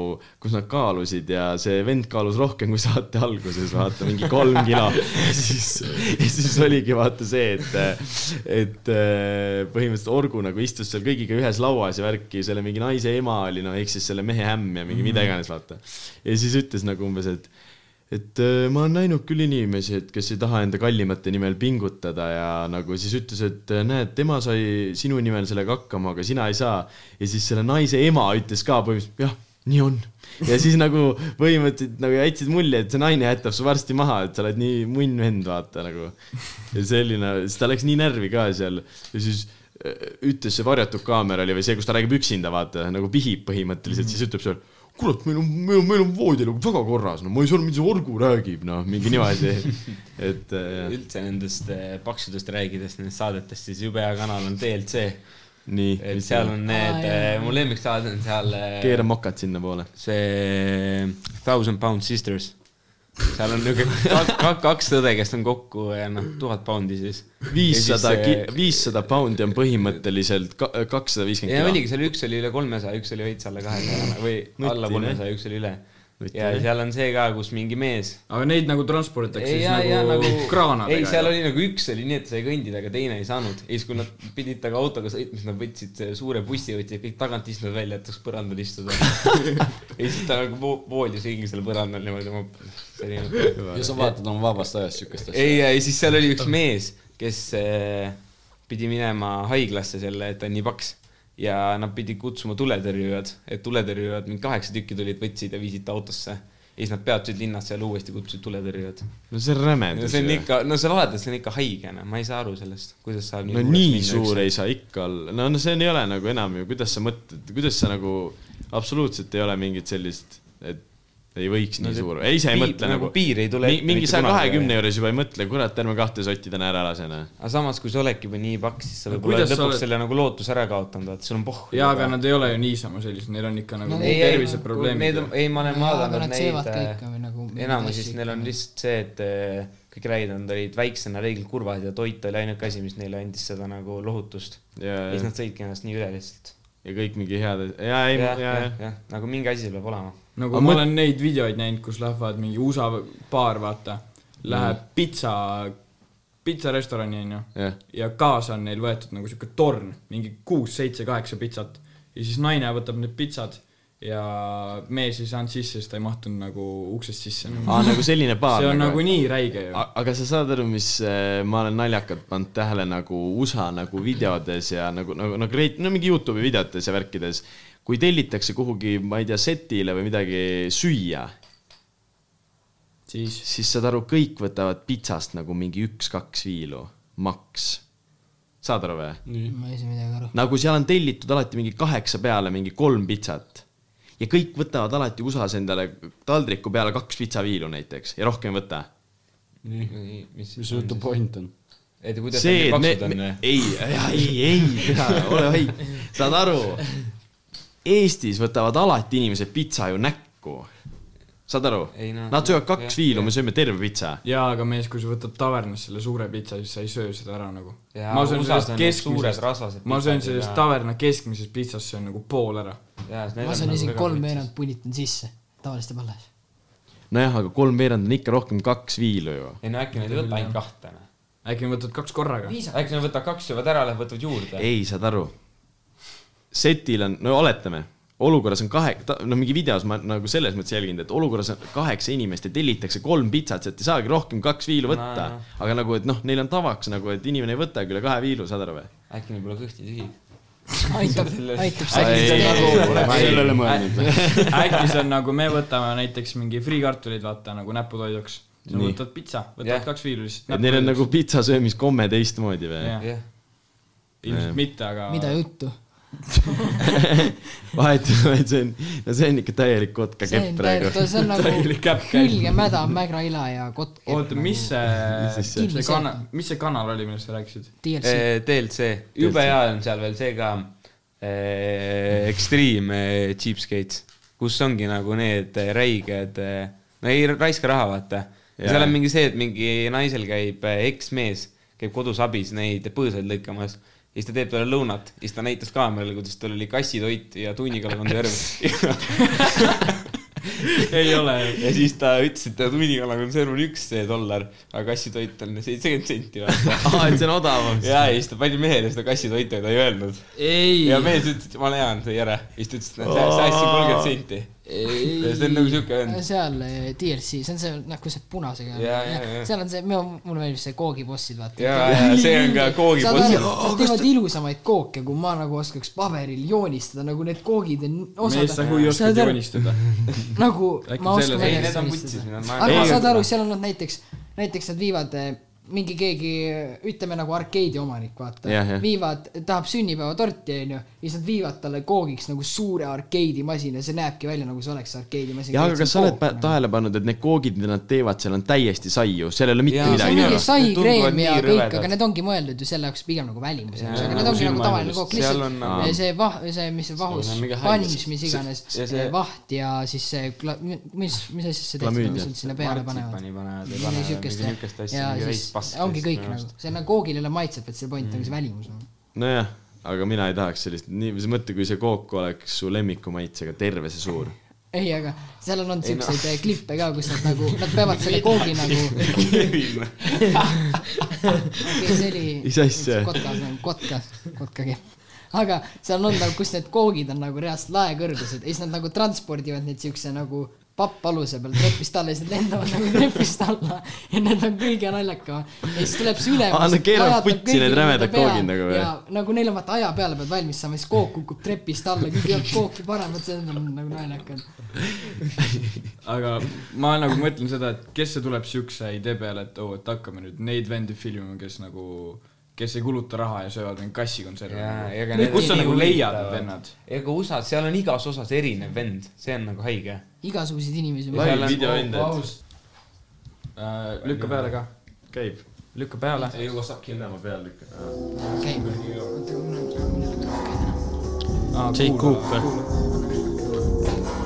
kus nad kaalusid ja see vend kaalus rohkem kui saate alguses , vaata mingi kolm kilo . siis , siis oligi vaata see , et , et eh, põhimõtteliselt Orgu nagu istus seal kõigiga ühes lauas ja värki , selle mingi naise ema oli noh , ehk siis selle mehe ämm ja mingi mida iganes , vaata . ja siis ütles nagu umbes , et et äh, ma olen näinud küll inimesi , et kes ei taha enda kallimate nimel pingutada ja nagu siis ütles , et äh, näed , tema sai sinu nimel sellega hakkama , aga sina ei saa . ja siis selle naise ema ütles ka põhimõtteliselt , jah , nii on . ja siis nagu põhimõtteliselt nagu jätsid mulje , et see naine jätab su varsti maha , et sa oled nii munn vend , vaata nagu . ja selline , siis ta läks nii närvi ka seal ja siis äh, ütles see varjatud kaamera oli või see , kus ta räägib üksinda , vaata nagu pihib põhimõtteliselt , siis ütleb seal kurat , meil on , meil on , meil on voodi nagu väga korras , no ma ei saa aru , mis see orgu räägib , noh , mingi niimoodi , *laughs* et äh, jah. üldse nendest eh, paksudest rääkides , nendest saadetest , siis jube hea kanal on DLC . nii , et seal on need , mu lemmiksaade on seal . äh, keera mokad sinnapoole . see Thousand Pound Sisters . seal on niuke *laughs* kaks, kaks õde , kes on kokku eh, noh , tuhat poundi siis . viissada , ja viissada poundi on põhimõtteliselt kakssada viiskümmend oligi , seal üks oli üle kolmesaja , üks oli veits *laughs* alla kahesaja või Nutine. noh. alla kolmesaja , üks oli üle . ja Nutine. seal on see ka , kus mingi mees aga neid nagu transporditakse ei , siis ja , ja nagu, nagu nagu kraanadega . ei , seal oli nagu üks oli nii , et sai kõndida , aga teine ei saanud . ja siis , kui nad pidid temaga autoga sõitma , siis nad võtsid selle suure bussi , võtsid kõik tagant istunud välja , et saaks *laughs* põrandal istuda . ja siis ta nagu vo- voodis kõigil seal põrandal niimoodi , ma , see oli nagu ja sa vaatad oma vabast ajast siukest asja . ei , ei siis seal oli üks mees , kes eh, pidi minema haiglasse selle , et ta on nii paks ja nad pidid kutsuma tuletõrjujad , et tuletõrjujad mingi kaheksa tükki tulid , võtsid ja viisid ta autosse . ja siis nad peatusid linnas seal uuesti , kutsusid tuletõrjujad . no see on no rämedus see on . ikka , no sa vaatad , see on ikka haigena , ma ei saa aru sellest , kuidas saab no nii suur ei saa ikka olla , no , no see ei ole nagu enam ju , kuidas sa mõtled , kuidas sa nagu absoluutselt ei ole mingit sellist , et ei võiks No nii see suur , ei sa ei piir- mõtle nagu nagu piir ei tule Mi- ette mingi mitte saja kunagi, kahekümne juures juba ei mõtle , kurat , ärme kahte sotti täna ära lase , noh . aga samas , kui sa oledki juba nii paks , siis sa No võib-olla kuidas oled sa lõpuks oled- selle nagu lootuse ära kaotanud , vaata , sul on pohhu . jaa , aga nad ei ole ju niisama sellised , neil on ikka nagu No no, ei, ei, terviseprobleemid Need on , ei , ma olen Jaa, aga vaadanud nad söövad ka neid äh, ikka või nagu mingeid enamus , siis asju neil on ikka. lihtsalt see , et eh, kõik räägid , nad olid väiksena reeglilt kurvad ja toit oli ainuke asi , mis neile andis seda nagu lohutust . ja , ja siis nad sõidki ennast nii üle lihtsalt . ja kõik mingi head , ja ei , ja , ja, ja. . jah , nagu mingi asi seal peab olema . nagu ma olen neid videoid näinud , kus lähevad mingi USA paar , vaata , läheb mm. pitsa , pitsarestorani , onju Jah. . ja kaasa on neil võetud nagu siuke torn , mingi kuus , seitse , kaheksa pitsat . ja siis naine võtab need pitsad ja mees ei saanud sisse , sest ta ei mahtunud nagu uksest sisse Mm. nagu. . aa , nagu selline paar . see on nagu nii räige ju . A- aga sa saad aru , mis äh, ma olen naljakalt pannud tähele nagu USA nagu videodes ja nagu , nagu , nagu reit- , no mingi Youtube'i videotes ja värkides . kui tellitakse kuhugi , ma ei tea , setile või midagi süüa , siis siis saad aru , kõik võtavad pitsast nagu mingi üks-kaks viilu , maks . saad aru või ? ma ei saa midagi aru . nagu seal on tellitud alati mingi kaheksa peale mingi kolm pitsat . ja kõik võtavad alati USA-s endale taldriku peale kaks pitsaviilu näiteks ja rohkem ei võta mis mis su jutu point on ? et kuidas nad see , nii et me paksud , on me või ?, ei , ei , ei , ole vait , saad aru . Eestis võtavad alati inimesed pitsa ju näkku . saad aru Ei, no- ? Nad söövad kaks jah, viilu , me sööme terve pitsa . jaa , aga mees , kui sa võtad tavernas selle suure pitsa , siis sa ei söö seda ära nagu . Jaa, ma söön USA-s sellest on need suured rasvased keskmisest , ma söön pitsad sellest ja- taverna keskmisest pitsast , söön nagu pool ära . ma saan isegi kolmveerand punnitan sisse tavaliste palles . nojah , aga kolmveerand on ikka rohkem kaks viilu ju . ei no äkki nad ei võta ainult kahte . äkki võtad kaks korraga ? äkki nad võtavad kaks , söövad ära , lähevad võtavad juurde . ei , saad aru . setil on , no oletame , olukorras on kahe , no mingi videos ma nagu selles mõttes jälginud , et olukorras on kaheksa inimest ja tellitakse kolm pitsat , sealt ei saagi rohkem kaks viilu võtta Nojah. . aga nagu , et noh , neil on tavaks nagu , et inimene ei võtagi üle kahe viilu , saad aru või ? äkki neil pole kõhti tühi . aitab , aitab Ei, ei, ei, ei, see . ei. ma ei sellele mõelnud . äkki see on nagu me võtame näiteks mingi friikartulid , vaata nagu näputoiduks . sa Nii. võtad pitsa , võtad Jah. yeah. kaks viilu lihtsalt . et neil on nagu pitsasöömiskomme teistmoodi või ? *laughs* jah , jah , Jah. ilmselt mitte , aga . mida juttu ? *laughs* vahet ei ole , see on , no see on ikka täielik kotka see kepp on praegu . täielikult , *laughs* see on nagu Täielik käpp käib. külge mäda , mägraila ja kotk . oota , mis see , Mis see- see kanal , mis see kanal oli , millest sa rääkisid ? DLC , Eh, DLC , jube hea on seal veel see ka , Extreme eh, Cheapskates , kus ongi nagu need eh, räiged , no ei raiska raha , vaata . ja Jaa. seal on mingi see , et mingi naisel käib eh, eksmees , käib kodus abis neid põõsaid lõikamas ja siis ta teeb talle lõunat ja siis ta näitas kaamerale , kuidas tal oli kassitoit ja tunnikalakonserv . *laughs* ei ole . ja siis ta ütles , et tunnikalakonserv on üks dollar , aga kassitoit on seitsekümmend senti . *laughs* aa , et see on odavam . ja , ja siis ta pani mehele seda kassitoitu ja ta ei öelnud . ei ja , mees ütles , et ma leian , tõi ära . ja siis ta ütles , et näed, see see asi on kolmkümmend senti . ja see on nagu siuke vend . seal eh, DLC , see on see nagu see punasega Jaa, jaa, jaa. , seal on see , mulle meeldib see koogibossid , vaata . ja , ja see on ka saad koogipost . aru , nad teevad ilusamaid kooke , kui ma nagu oskaks paberil joonistada , nagu need koogid on mees , sa osad kui Saad oskad aru- joonistada . nagu Äkki ma selles- oskan ei , välja need on joonistada. putsis , need on aga naerad . saad aru , seal on nad näiteks , näiteks nad viivad eh, mingi keegi , ütleme nagu arkeedi omanik , vaata Jah, jah. viivad , tahab sünnipäevatorti , onju , ja siis nad viivad talle koogiks nagu suure arkeedimasina , see näebki välja nagu see nagu. oleks arkeedimasin . ja aga kas sa oled pa- tähele pannud , et need koogid , mida nad teevad , seal on täiesti saiu , seal ei ole mitte Jaa, see midagi on minu mingi arust sai need tunduvad kreem ja nii kõik , rõvedad. aga need ongi mõeldud ju selle jaoks pigem nagu välimuseks , Jaa, aga need nagu ongi nagu tavaline silmaühendus. kook , Seal on lihtsalt nagu- see vah- , see , mis see vahus on mingi , pannis hall- , mis iganes , ja see- vaht ja siis see , mis , mis asjast see tehti , Klamüüdia. mis nad sinna peale panevad martsipani panevad ja midagi panevad mingi siukest niukest asja ja , mingi siis veits pasta . ongi kõik nagu , see on nagu koogil ei ole maitset , vaid see point ongi see välimus . nagu. nojah , aga mina ei tahaks sellist , nii , mis mõte , kui see kook oleks su lemmikumaitsega , terve see suur . ei , aga seal on olnud siukseid eh, klippe ka , kus nad nagu , nad peavad selle koogi nagu . see oli . Mis asja? kotkas , kotkas , kotkakehv . aga seal on nagu , kus need koogid on nagu reast laekõrgused ja siis nad nagu transpordivad neid siukse nagu pappaluse peal trepist alla ja siis nad lendavad nagu trepist alla ja need on kõige naljakamad . ja siis tuleb see ülemus . Aa, nad keeravad putsi need rämedad koogid nagu või? või ? nagu neil on vaata aja peale pead valmis saama , siis kook kukub trepist alla , kõik jääb kooki paremad , see on nagu naljakad . aga ma nagu mõtlen seda , et kes see tuleb siukse idee peale , et oo , et hakkame nüüd neid vendi filmima , kes nagu , kes ei kuluta raha ja söövad mingi Jaa, ega kassikonserve need . kus sa nii nagu leiad need huvitavad. vennad ? ega USA-s , seal on igas osas erinev vend , see on nagu haige . igasuguseid inimesi . Lai- Seal on videoendajad . Äh, lükka peale ka , käib . lükka peale . ei jõua sakki ennama peale lükkama . Jake Cooper .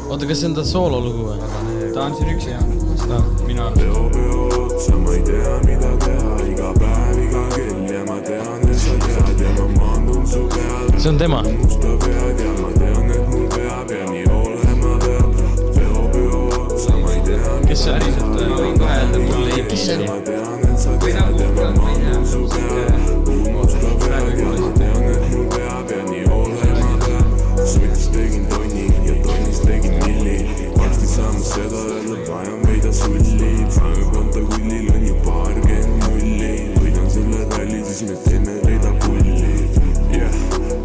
oota , kas see on ta soololugu või ? ta on siin üksi jah , seda minu arust . otsa , ma ei tea , mida teha , iga päev , iga kell ja ma tean , et sa tead ja ma maandun su peal . see on tema . musta pead ja ma tean , et mul peab ja nii olema peab . veopeo otsa , ma ei tea , kes see oli ? ma võin kohe öelda , mul ei kes see oli ? ma tean , et sa tead ja ma maandun su peal . musta pead ja ma tean , et mul peab ja nii olema peab . sotist tegin tonni ja tonnist tegin milli . varsti saame seda öelda , vajan veida sulli . päevakonto kullil on ju paarkümmend nulli . võidan selle ralli , siis me teeme veida pulli . jah ,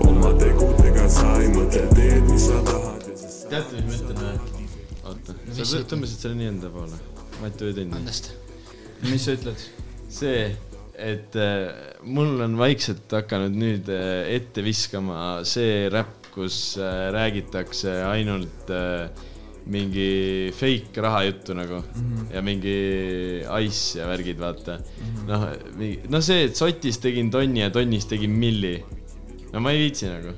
oma tegudega sa ei mõtle , teed , mis sa tahad ja siis teate , mis ma ütlen või ? oota , sa tõ- tõmbasid selle nii enda poole . Mati või teinud ? andest . mis sa ütled ? see , et äh, mul on vaikselt hakanud nüüd äh, ette viskama see räpp , kus äh, räägitakse ainult äh, mingi fake rahajuttu nagu mm Mhm. -hmm. ja mingi ice ja värgid , vaata mm . -hmm. noh , no see , et sotis tegin tonni ja tonnis tegin milli . no ma ei viitsi nagu .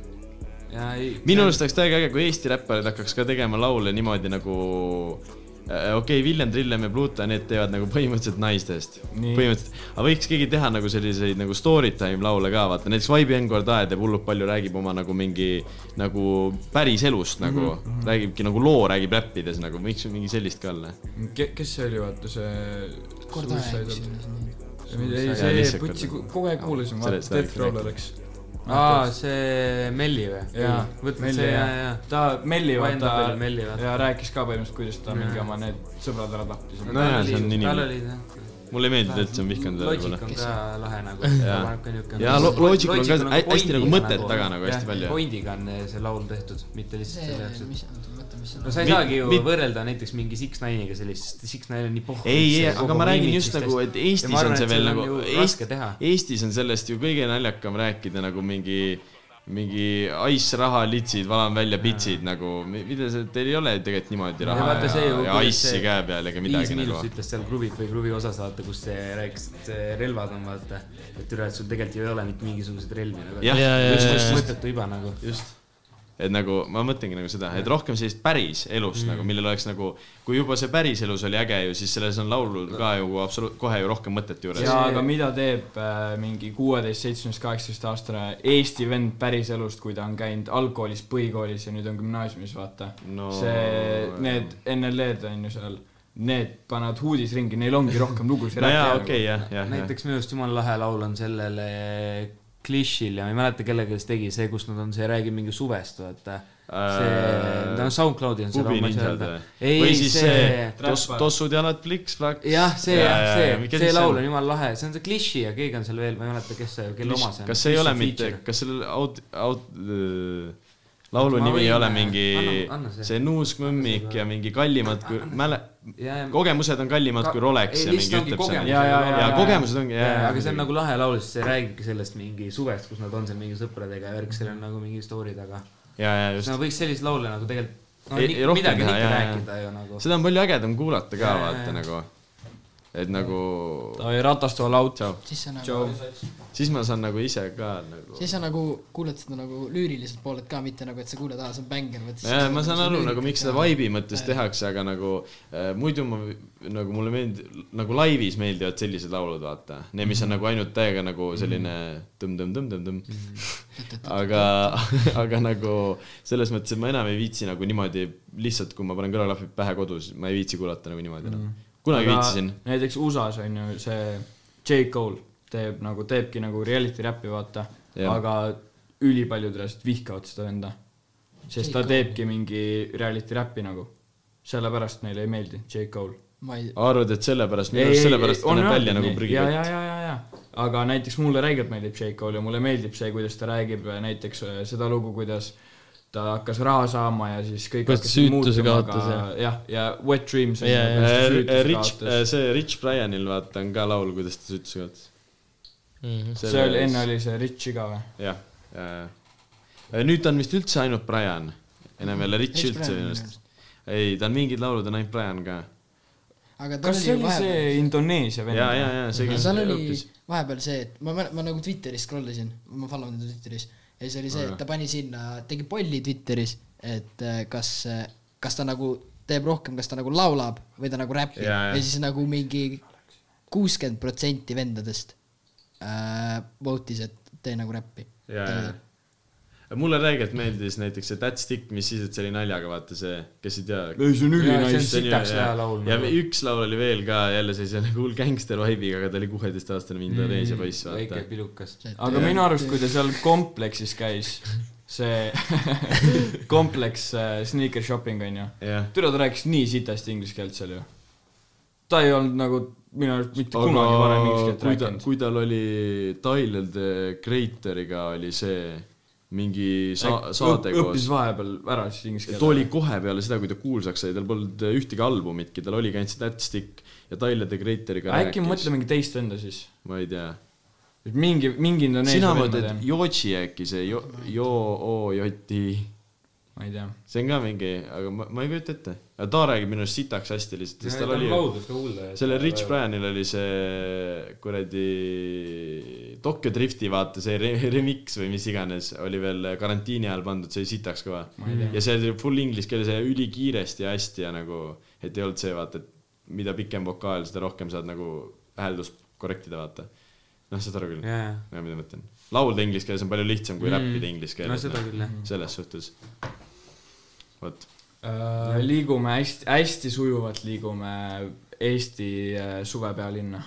minu arust oleks täiega äge , kui Eesti räpparid hakkaks ka tegema laule niimoodi nagu okei okay, , Villem , Trillem ja Pluto , need teevad nagu põhimõtteliselt naistest . Nii. põhimõtteliselt , aga võiks keegi teha nagu selliseid nagu story time laule ka , vaata näiteks Vibe Encore Dae teeb hullult palju , räägib oma nagu mingi nagu päris elust nagu mm , -hmm. räägibki nagu loo , räägib räppides nagu , võiks ju mingi sellist ka olla . ke- , kes see oli , vaata see . kord ajas . ei , Jaa, see lihtsalt putsi , kord- kogu aeg kuulasin , Selle- vaata seda Death ikka Row läks . aa , see Melli või ? Jaa, võtnud Melli, see ja , jah. ja . ta , Melli Vaenab vaata veel Melli, vaata. ja rääkis ka põhimõtteliselt , kuidas ta mingi oma need sõbrad ära tapis . nojah, see on inimene. tal oli jah . mulle ei meeldi täitsa , ma vihkan teda Logic võib-olla . on ka lahe nagu . Jaa. Jaa, lo- Logical on ka hästi nagu mõtet taga nagu hästi palju. Pointiga on see laul tehtud , mitte lihtsalt see , selle jaoks , mis , oota , mis see on et no sa ei Mit- saagi ju mit- võrrelda näiteks mingi Six Nine'iga sellist , sest Six Nine on nii pohhu . ei , ei , aga ma räägin just nagu , et Eestis on see veel nagu , raske teha . Eestis on sellest ju kõige naljakam rääkida nagu mingi , mingi Ice raha litsid , valan välja pitsid nagu , mida see , teil ei ole tegelikult niimoodi raha vaata ja, see ju, ja, ja kuidas see Ice'i käe peal ega Viis midagi nagu Miinust . ütles seal klubid või klubi osas vaata , kus see rääkis , et see relvad on vaata , et üle , et sul tegelikult ju ei ole mitte mingisuguseid relvi nagu . Jah, Jaa, jaa, just , jaa, just jaa. mõttetu iba nagu . just . et nagu ma mõtlengi nagu seda , et rohkem sellist päris elust mm. nagu , millel oleks nagu , kui juba see päris elus oli äge ju , siis selles on laulul ka ju absoluut , kohe ju rohkem mõtet juures . ja , aga mida teeb äh, mingi kuueteist , seitsmeteist , kaheksateist aastane Eesti vend päriselust , kui ta on käinud algkoolis , põhikoolis ja nüüd on gümnaasiumis , vaata No- see , need NLE-d on ju seal , need panevad huudis ringi , neil ongi rohkem lugusid no jaa , okei , jah , jah , jah . näiteks minu arust jumala lahe laul on sellele Klišil ja ma ei mäleta , kellega see tegi , see , kus nad on , see räägib mingi suvest , vaata . see , Äh, no SoundCloudi on see laul , ma ei saa pubininjad öelda või ?? ei või , siis see see tos, tossud jalad pliks-plaks . jah , see , see , see laul on ju . jumala lahe , see on see Kliši ja keegi on seal veel , ma ei mäleta , kes see , kelle oma see on . kas see ei ole mitte , kas sellel aut- , aut- , laulu Ma nimi ei võin- äh, ole mingi anna- anna see. see Nuusk mõmmik ja mingi kallimad kui , mäle- , Jaa, ja- kogemused on kallimad kui Rolex ja mingi ütleb seal . Jaa, jaa, jaa, ja kogemused ongi , jaa , jaa , aga see on nagu lahe laul , sest see räägibki sellest mingi suvest , kus nad on seal mingi sõpradega ja värk , seal on nagu mingi story taga . jaa , jaa , no just . võiks selliseid laule nagu tegelikult no, Ei- ei, ei, ei, rohkem midagi on teha, ikka jaa, jaa. rääkida ju nagu . seda on palju ägedam kuulata ka , Jaa, jaa, vaata jaa. nagu , et nagu , davai , ratastool out . siis sa nagu , tšau . siis ma saan nagu ise ka nagu siis sa nagu kuuled seda nagu lüüriliselt poolelt ka , mitte nagu , et sa kuuled , aa , see on bängar , vaid jaa , ma saan aru nagu , miks seda vaibi mõttes tehakse , aga nagu äh, muidu ma nagu mulle meeldib , nagu laivis meeldivad sellised laulud , vaata . Need , mis on nagu ainult täiega nagu selline tõmm-tõmm-tõmm-tõmm-tõmm . aga , aga nagu selles mõttes , et ma enam ei viitsi nagu niimoodi , lihtsalt kui ma panen kõrvaklapid pähe kodus , ma ei viitsi kuulata nagu niimoodi enam . Mm. kunagi viitsisin .. näiteks USA-s on ju see J. Cole teeb nagu , teebki nagu reality räppi , vaata , Jah. aga ülipaljud reaalselt vihkavad seda venda . sest J. ta Cole. teebki mingi reality räppi nagu , sellepärast neile ei meeldi J. Cole . ma ei , arvad , et sellepärast , minu arust sellepärast ta näeb välja nagu ja , ja , prügikott . ja , ja , ja , aga näiteks mulle räigelt meeldib J. Cole ja mulle meeldib see , kuidas ta räägib äh, näiteks äh, seda lugu , kuidas ta hakkas raha saama ja siis kõik Kuidas ta hakkasid süütuse muutuma, kaotas aga- jah , ja Wet Dreams on Jaa, ju, jaa. kuidas ta süütuse Äh, Rich , kaotas. see Rich Brianil vaata on ka laul , kuidas ta süütuse kaotas . Mhm. see oli , enne oli see Rich iga või ? jah , nüüd ta on vist üldse ainult Brian , enam jälle Rich Rich üldse Brian minu on arust . ei , ta on mingid laulud on ainult Brian ka . aga tal kas see oli oli see vahepeal , Indoneesia vend ja ,? ja , ja see , no kes tal oli õppis . vahepeal see , et ma , ma nagu Twitteris scroll isin , ma follow in teda Twitteris ja siis oli see , et ta pani sinna , tegi polli Twitteris , et äh, kas , kas ta nagu teeb rohkem , kas ta nagu laulab või ta nagu räpib Jaa, ja jah. siis nagu mingi kuuskümmend protsenti vendadest äh, vote'is , et tee nagu räppi . ja , ja . mulle räigelt meeldis näiteks see That Stick , mis siis , et see oli naljaga , vaata see , kes ei tea . ei , see on see ülinais . on sitaks hea laul . ja üks laul oli veel ka jälle sellise nagu hull gängster vibe'iga , aga ta oli kuueteistaastane Indoneesia poiss , väike vaata . pilukas . aga minu arust , kui ta seal kompleksis käis , see *laughs* kompleks äh, sneaker shopping onju . jah . türa , ta rääkis nii sitast inglise keelt seal ju . ta ei olnud nagu minu arust mitte aga kunagi varem inglise keelt kui ta , rääkinud . kui tal oli Tyler the Creator'iga oli see mingi sa- , saade koos õppis . vahepeal ära siis inglise too oli keele . kohe peale seda , kui ta kuulsaks sai , tal polnud ühtegi albumitki , tal oligi ainult see That Stick ja Tyler the Creator'iga äkki rääkis. mõtle mingi teist venda siis . ma ei tea . mingi , mingi sina Indoneesia vend ma mõtled tean . Yoji äkki see Jo- , Jo- , O , Joti , ma ei tea . see on ka mingi , aga ma , ma ei kujuta ette . aga ta räägib minu arust sitaks hästi lihtsalt , sest tal oli ju ka kuulda . sellel Rich Brianil oli see kuradi Tokyo Drifti vaata see re remix või mis iganes oli veel karantiini ajal pandud , see oli sitaks kõva . ja see oli full inglise keel , see ülikiiresti ja hästi ja nagu et ei olnud see , vaata , et mida pikem vokaal , seda rohkem saad nagu hääldust korrektida , vaata . noh , saad aru küll Jaa, jaa. no, , mida ma mõtlen . laulda inglise keeles on palju lihtsam kui mm. räppida inglise keeles . no seda küll jah . selles suhtes . vot , Äh, liigume hästi , hästi sujuvalt liigume Eesti äh, suvepealinna ,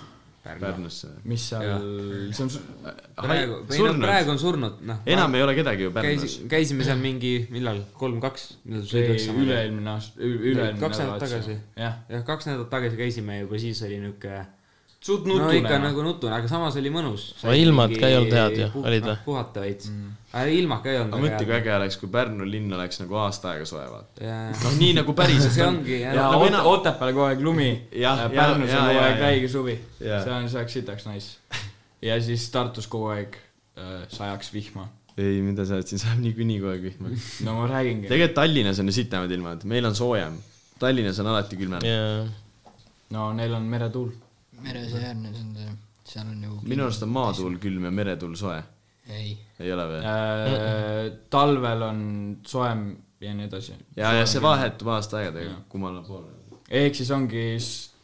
Pärnusse . mis Jah. seal , see on su- praegu , või noh , praegu on surnud , noh . enam ei ole kedagi ju Pärnus käis ., käisime seal mingi , millal , kolm-kaks , millal see see sõidaks sama üle . üle-eelmine aasta , üle-eelmine Kaks nädalat tagasi. jah , jah , kaks nädalat tagasi käisime ja juba siis oli niuke suht no ikka nutune noh. nagu nutune , aga samas oli mõnus . No ilmad ka ei olnud head ju, olid või? puhata veits mm. . aga ilmad ka ei olnud aga mõtle , kui . äge oleks , kui Pärnu linn oleks nagu aasta aega soe , *laughs* vaata . jah , noh , nii nagu päriselt see on . ongi ja jah . nagu Ote- enam- Otepääl kogu aeg lumi , Jah, ja- Pärnus ja- on kogu ja- aeg ja. räige suvi , Jah. see on , see oleks sitaks nice . ja siis Tartus kogu aeg äh, sajaks vihma , ei , mida sa oled , siin sajab niikuinii kogu aeg vihma . no ma räägingi , tegelikult Tallinnas on ju sitemad ilmad , meil on soojem . Tallinnas on alati külmem . jaa . no neil on meretuul , meresõjarne , see on see , seal on ju . minu arust on maatuul külm ja meretuul soe . ei , ei ole või ? Äh, talvel on soojem ja nii edasi . ja , ja see vahetub aasta aegadega , kummale poole . ehk siis ongi ,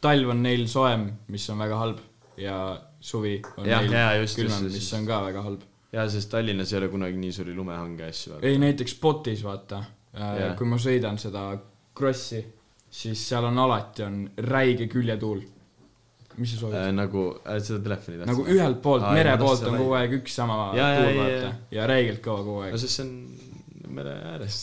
talv on neil soojem , mis on väga halb ja suvi on Jah, neil jaa, just, külmem , just, mis just. on ka väga halb . ja , sest Tallinnas ei ole kunagi nii suuri lumehange asju . ei , näiteks Botis , vaata Jah. yeah. , kui ma sõidan seda Krossi , siis seal on alati , on räige küljetuul . mis sa soovid äh, ? nagu , seda telefoni nagu ühelt poolt , Aa, ei, mere ma poolt tahtsin on seda kogu aeg üks sama Jaa, jaa, tuul , jaa, vaata jaa. , ja räigelt kõva kogu no aeg . sest see on mere ääres .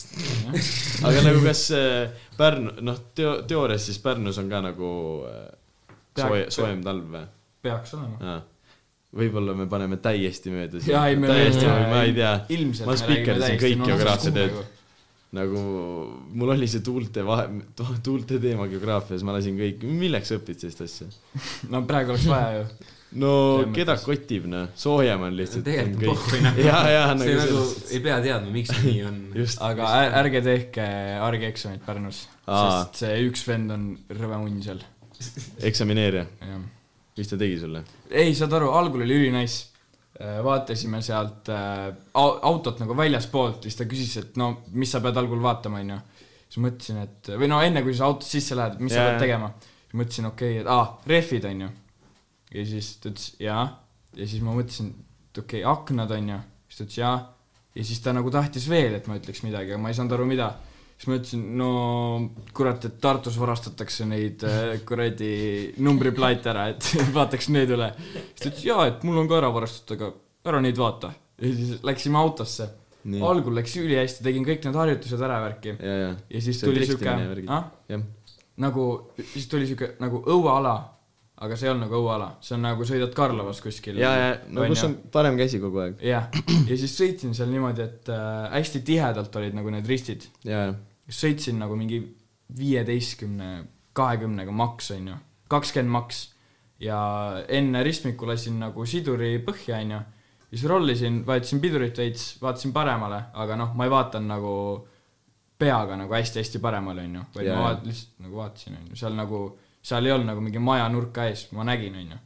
*laughs* aga nagu kas äh, Pärnu , noh , teo- , teoorias siis Pärnus on ka nagu äh, sooje , Peaks- soojem talv või ? peaks olema . võib-olla me paneme täiesti mööda siin. jaa , ei me täiesti , ma ei tea . ilmselt ma spikerdasin kõik geograafiad , teed et . nagu mul oli see tuulte vahe , tuulte teema geograafias , ma lasin kõik , milleks sa õpid sellist asja ? no praegu oleks vaja ju . no Selles mõttes. keda kotib , noh , soojem on lihtsalt . tegelikult on pohhu *laughs* nagu . jaa , jaa , see nagu nagu selles . ei pea teadma , miks see nii on . just , aga är- ärge tehke argieksamit Pärnus , Aa. sest see üks vend on rõve munn seal , eksamineerija , jah . mis ta tegi sulle ? ei , saad aru , algul oli ülinais . vaatasime sealt äh, au- autot nagu väljaspoolt , siis ta küsis , et no mis sa pead algul vaatama , onju . siis mõtlesin , et või no enne , kui sa autost sisse lähed , mis Jaa, sa jaa. pead tegema . siis mõtlesin , okei okay, , et aa , rehvid onju . ja siis ta ütles jaa . ja siis ma mõtlesin , et okei okay, , aknad onju . siis ta ütles jaa . ja siis ta nagu tahtis veel , et ma ütleks midagi , aga ma ei saanud aru , mida siis ma ütlesin , no kurat , et Tartus varastatakse neid äh, kuradi numbriplaate ära , et *laughs* vaataks need üle . siis ta ütles jaa , et mul on ka ära varastatud , aga ära neid vaata . ja siis läksime autosse . Nii. algul läks ülihästi , tegin kõik need harjutused ära värki . ja , ja . ja siis tuli siuke , ah , jah , nagu , siis tuli siuke nagu õueala , aga see ei olnud nagu õueala , see on nagu sõidad Karlovas kuskil . ja , ja , no kus on parem käsi kogu aeg . jah , ja siis sõitsin seal niimoodi , et äh, hästi tihedalt olid nagu need ristid ja , ja , sõitsin nagu mingi viieteistkümne , kahekümnega maks , onju , kakskümmend maks . ja enne ristmikku lasin nagu siduri põhja , onju , siis rollisin , vajutasin pidurit veits , vaatasin paremale , aga noh , ma ei vaadanud nagu peaga nagu hästi-hästi paremale , onju , vaid Jaa, ma jaa. vaat- , lihtsalt nagu vaatasin , onju , seal nagu , seal ei olnud nagu mingi maja nurka ees , ma nägin , onju .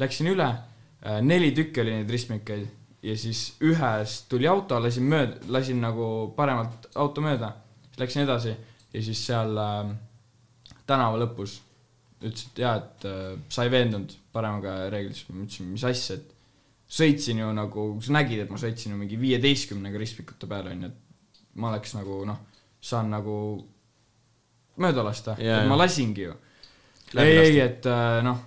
Läksin üle , neli tükki oli neid ristmikeid ja siis ühes tuli auto , lasin mööda , lasin nagu paremalt auto mööda , siis läksin edasi ja siis seal äh, tänava lõpus ütles , et jaa , et äh, sa ei veendunud paremaga reeglis , ma ütlesin , mis asja , et sõitsin ju nagu , sa nägid , et ma sõitsin ju mingi viieteistkümnega ristmikute peale , onju , et ma oleks nagu noh , saan nagu mööda lasta , Jaa, et ma jaa. lasingi ju . Läbi ei , ei , lasta. et äh, noh ,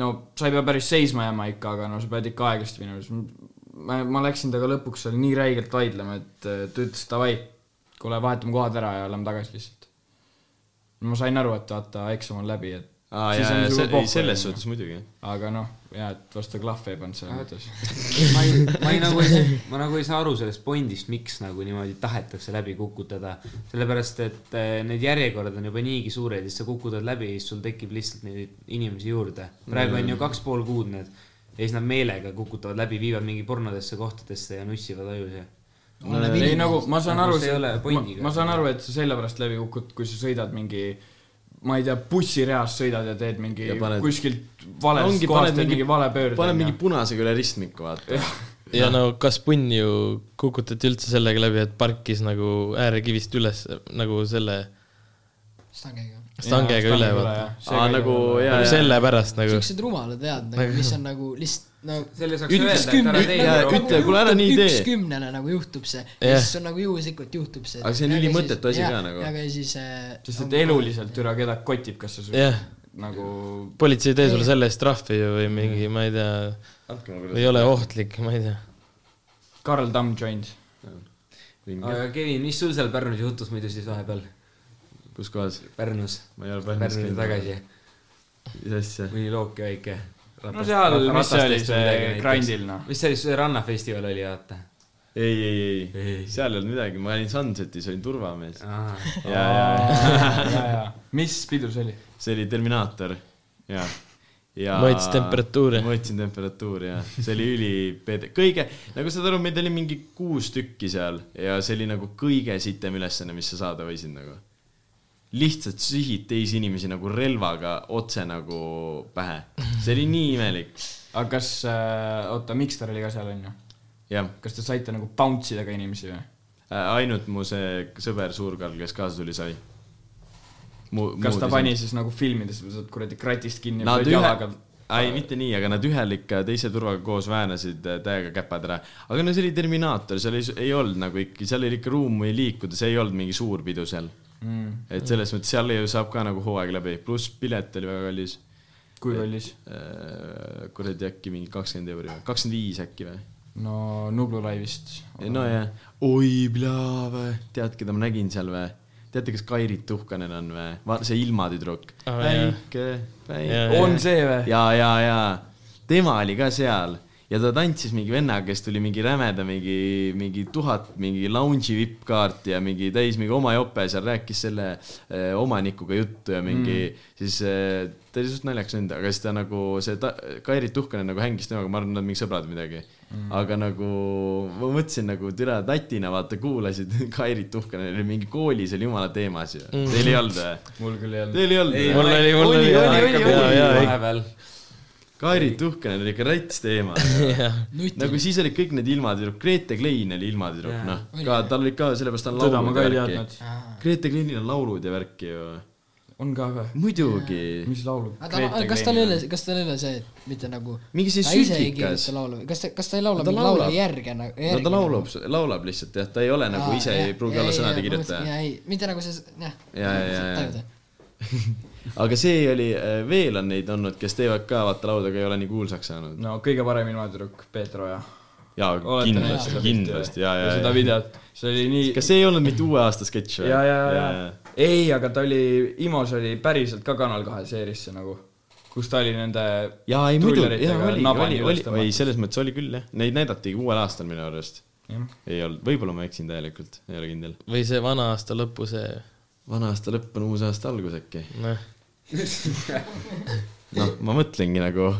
no sa ei pea päris seisma jääma ikka , aga no sa pead ikka aeglasti minema , siis ma , ma läksin temaga lõpuks seal nii räigelt vaidlema , et äh, ta ütles davai , kuule , vahetame kohad ära ja lähme tagasi lihtsalt . ma sain aru , et vaata , eksam on läbi , et ja , Siis on ja , sul ei pohhu, selles onju. suhtes muidugi . aga noh , jaa , et vastu klahve ei pannud selles mõttes . ma ei , ma ei nagu ei saa , ma nagu ei saa aru sellest pointist , miks nagu niimoodi tahetakse läbi kukutada . sellepärast , et eh, need järjekorrad on juba niigi suured ja siis sa kukutad läbi ja siis sul tekib lihtsalt neid inimesi juurde . praegu on ju kaks pool kuud need ja siis nad meelega kukutavad läbi , viivad mingi pornodesse kohtadesse ja nussivad ajusi . ei nagu noh. ma saan Nagu aru , see ei ole pointiga. ma saan aru , et sa sellepärast läbi kukud , kui sa sõidad mingi , ma ei tea , bussireas sõidad ja teed mingi Ja paned- kuskilt valest ongi, kohast teed mingi vale pöörde . paned mingi punasega üle ristmiku , vaata . ja no kas punn ju kukutati üldse sellega läbi , et parkis nagu äärekivist üles nagu selle stangega . stangega üle vaata . aa , nagu jaa , jaa . sellepärast nagu . siuksed rumalad head nagu , mis on nagu lihtsalt nagu selle saaks Ütle- öelda , et ära kümne- tee jaa, nii nagu ütle, kuule, ära nii juhtub tee. üks kümnele nagu juhtub see yeah. , Jah. siis on nagu juhuslikult juhtub see . Aga see on ülimõttetu asi ka nagu. aga siis äh, . sest et eluliselt üle keda kotib , kas sa jah , su- nagu politsei ei tee sulle selle eest trahvi ju või mingi , ma ei tea , andke mulle ei ole ohtlik , ma ei tea . Karl Tamm joined . palju . aga Kevin , mis sul seal Pärnus juhtus muidu siis vahepeal ? kuidas . kus kohas ? Pärnus , ma ei ole Pärnus Pärnuni tagasi , mis asja ? mõni looke väike . no seal , mis see oli , see Grindil noh . mis see oli , see rannafestival oli , vaata . ei , ei , ei, Ei. ei. , seal ei olnud midagi , ma olin Sunsetis , olin turvamees . ja , ja , mis pidu see oli ? see oli Terminaator ja , ja . Mõõtis temperatuuri. mõõtsin temperatuuri ja see oli ülipede- , kõige , nagu saad aru , meid oli mingi kuus tükki seal ja see oli nagu kõige sitem ülesanne , mis sa saada võisid nagu . lihtsalt sihid teisi inimesi nagu relvaga otse nagu pähe , see oli nii imelik , aga kas , oota , Mikster oli ka seal onju ? jah kas te saite nagu bounce ida ka inimesi või ? ainult mu see sõber Suurkall , kes kaasa tuli , sai . kas ta pani siis nagu filmides , saad kuradi kratist kinni Nad lööd ühe jalaga ?, ei mitte nii , aga nad ühel ikka teise turvaga koos väänasid äh, täiega käpad ära . aga no see oli Terminaator , seal ei, ei olnud nagu ikka , seal oli ikka ruumi liikuda , see ei olnud mingi suur pidu seal mm. . et selles mõttes seal ju saab ka nagu hooaeg läbi , pluss pilet oli väga kallis . kui kallis ? Äh, kuradi äkki mingi kakskümmend euri või , kakskümmend viis äkki või ? no Nublu laivist . nojah , oi plaa või , tead , keda ma nägin seal või ? teate , kes Kairit Tuhkanen on või ? vaata see ilmatüdruk Aa, oh, . jaa. väike , väike Jaa, . on see või ? ja , ja , ja tema oli ka seal ja ta tantsis mingi vennaga , kes tuli mingi rämeda mingi , mingi tuhat mingi lounge'i vippkaarti ja mingi täis mingi oma jope seal rääkis selle eh, omanikuga juttu ja mingi mm. siis eh, ta oli suht naljakas olnud , aga siis ta nagu see ta, Kairi Tuhkanen nagu hängis temaga , ma arvan , nad mingid sõbrad või midagi mm. . aga nagu ma mõtlesin nagu türa tatina vaata kuulasid *laughs* Kairi Tuhkanen oli mingi koolis oli jumala teemas ju mm. . Teil ei olnud või ? mul küll ei olnud . Teil ei olnud või ? mul oli , mul oli , jaa , jaa , vahepeal . Kairi Tuhkanen oli ikka rats teema . nagu siis olid kõik need ilmatüdruk , Grete Klein oli ilmatüdruk , noh , ka tal oli ka , sellepärast ta on seda ma laulud ka ja ei värki . teadnud . Grete Kleinil on laulud ja värki ju . on ka või ? muidugi . mis laulu ? aga ta , kas tal ei ole , kas tal ei ole see , et mitte nagu . Mingi see sütikas. laulu , kas ta , kas ta ei laula No ta mingi laulu laulab. järge nagu ? no ta laulab , laulab lihtsalt jah , ta ei ole nagu ise ei pruugi olla sõnade kirjutaja . ja ei , mitte nagu see , jah . Jaa, jaa, jaa. aga see oli , veel on neid olnud , kes teevad ka vaata laulud , aga ei ole nii kuulsaks saanud . no kõige parem ilmatüdruk , Peeter Oja . jaa , kindlasti , kindlasti , jaa , seda jaa , jaa . videot , see oli nii . kas see ei olnud mitte uue aasta sketš või ? ja , ja , ja , ei , aga ta oli , Imos oli päriselt ka Kanal kahe seerisse nagu , kus ta oli nende . jaa , ei muidugi , jaa , oli , oli , oli , ei , selles mõttes oli küll jah , neid näidatigi uuel aastal minu arust . ei olnud , võib-olla ma eksin täielikult , ei ole kindel . või see vana aasta lõpu see , vana aasta lõpp on uus aasta algus äkki . noh , noh , ma mõtlengi nagu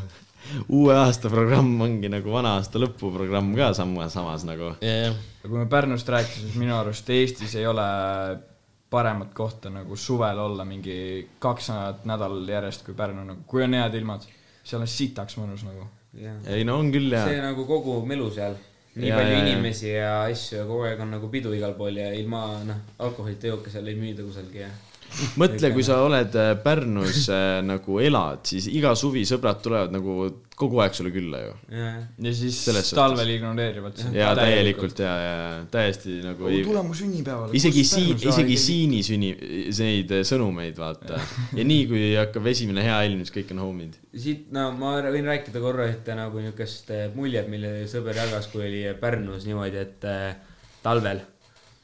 uue aasta programm ongi nagu vana aasta lõpuprogramm ka sama , samas nagu . jaa , jah . ja kui me Pärnust rääkisime , siis minu arust Eestis ei ole paremat kohta nagu suvel olla mingi kaks nädalat nädal järjest kui Pärnu nagu , kui on head ilmad , seal on sitaks mõnus nagu . ei no on küll see jaa . nagu kogu melu seal . nii Ah. Jaa, ja, palju jaa, ja, jaa. inimesi ja asju ja kogu aeg on nagu pidu igal pool ja ilma noh , alkoholita jooke seal ei müüda kusalgi ja . mõtle , kui sa oled äh, Pärnus äh, nagu elad , siis iga suvi sõbrad tulevad nagu kogu aeg sulle külla ju . ja siis Selles suhtes. talvel ignoreerivad sind jaa , täielikult jaa , jaa , täiesti nagu ei tule mu sünnipäevale . isegi siin , isegi . siini sünni , neid sõnumeid vaata ja nii kui hakkab esimene hea ilm , siis kõik on homid . siit , no ma r- võin rääkida korra ühte nagu niukest eh, muljet , mille sõber jagas , kui oli eh, Pärnus niimoodi , et eh, talvel ,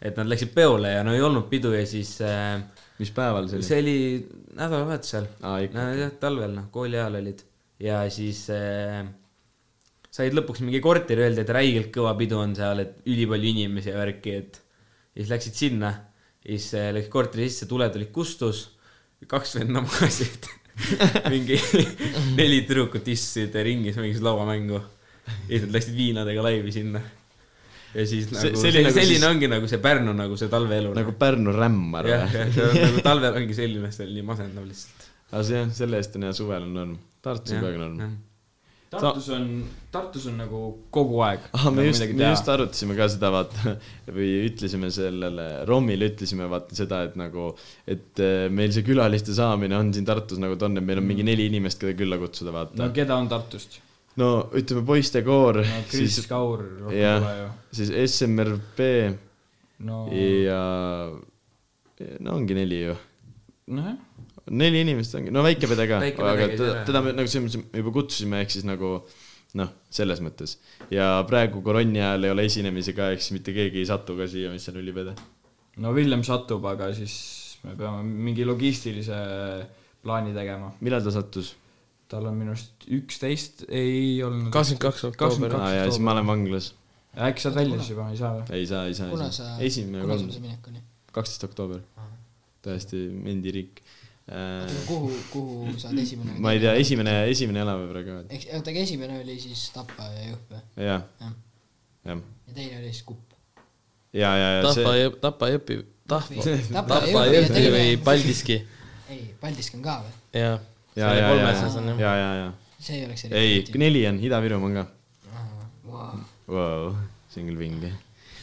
et nad läksid peole ja no ei olnud pidu ja siis äh, mis päeval see oli ? see oli nädalavahetusel Aa, ikka. nojah , talvel noh , kooli ajal olid ja siis äh, said lõpuks mingi korteri , öeldi , et räigelt kõva pidu on seal , et ülipalju inimesi ja värki , et ja siis läksid sinna , siis äh, läks korteri sisse , tuled olid kustus , kaks venda magasid , *laughs* mingi *laughs* neli tüdrukut istusid ringis mingis lauamängu ja siis nad läksid viinadega laivi sinna ja siis See- nagu see, see oli selline, nagu selline siis- ongi nagu see Pärnu nagu see talveelu nagu Pärnu rämmar jah , või ? jah , see on nagu talvel ongi selline , see on nii masendav lihtsalt . aga see jah , selle eest on hea , suvel on norm . Tartus on ka norm . Tartus on , Tartus on nagu kogu aeg . nagu ah, . me just , me just arutasime ka seda , vaata , või ütlesime sellele , Romile ütlesime vaata seda , et nagu , et eh, meil see külaliste saamine on siin Tartus nagu ta on , et meil on mingi neli inimest , keda külla kutsuda , vaata no . keda on Tartust ? no ütleme , poistekoor Mm. no , Kris siis , Kaur , jah. rohkem pole ju . siis SMRP no , ja no ongi neli ju . nojah . neli inimest ongi , no Väike-Pede ka , Väike Pede aga käis teda ära. , teda me nagu selles mõttes juba kutsusime , ehk siis nagu noh , selles mõttes . ja praegu koronni ajal ei ole esinemisi ka , ehk siis mitte keegi ei satu ka siia , mis on ülipede . no Villem satub , aga siis me peame mingi logistilise plaani tegema . millal ta sattus ? tal on minu arust üksteist , ei olnud . kakskümmend kaks oktoober . aa jaa , siis ma olen vanglas . äkki saad välja siis juba , ei saa või ? ei saa , ei saa , kuna ei saa sa ,. esimene kuna sul kolm see , minek oli ? kaksteist oktoober . täiesti mendiriik . kuhu , kuhu sa oled esimene ? ma ei tea ,. esimene , esimene jalaväe ka . eks , oota , aga esimene oli siis Tapa ja Jõhvi jah , jah. jah . ja teine oli siis Kupp . ja , ja , ja Tahva see , ja , Tapa Jõpi , Tahva , Tapa Tapa ja Jõhvi ja Jõpi teine- või Paldiski ei , Paldiski on ka või ? ja ja , selle ja , ja , kolmeses on ja , jah . ja , ja, ja. , see ei oleks ei , neli on , Ida-Virumaa on ka wow. . wow, . see on küll vinge .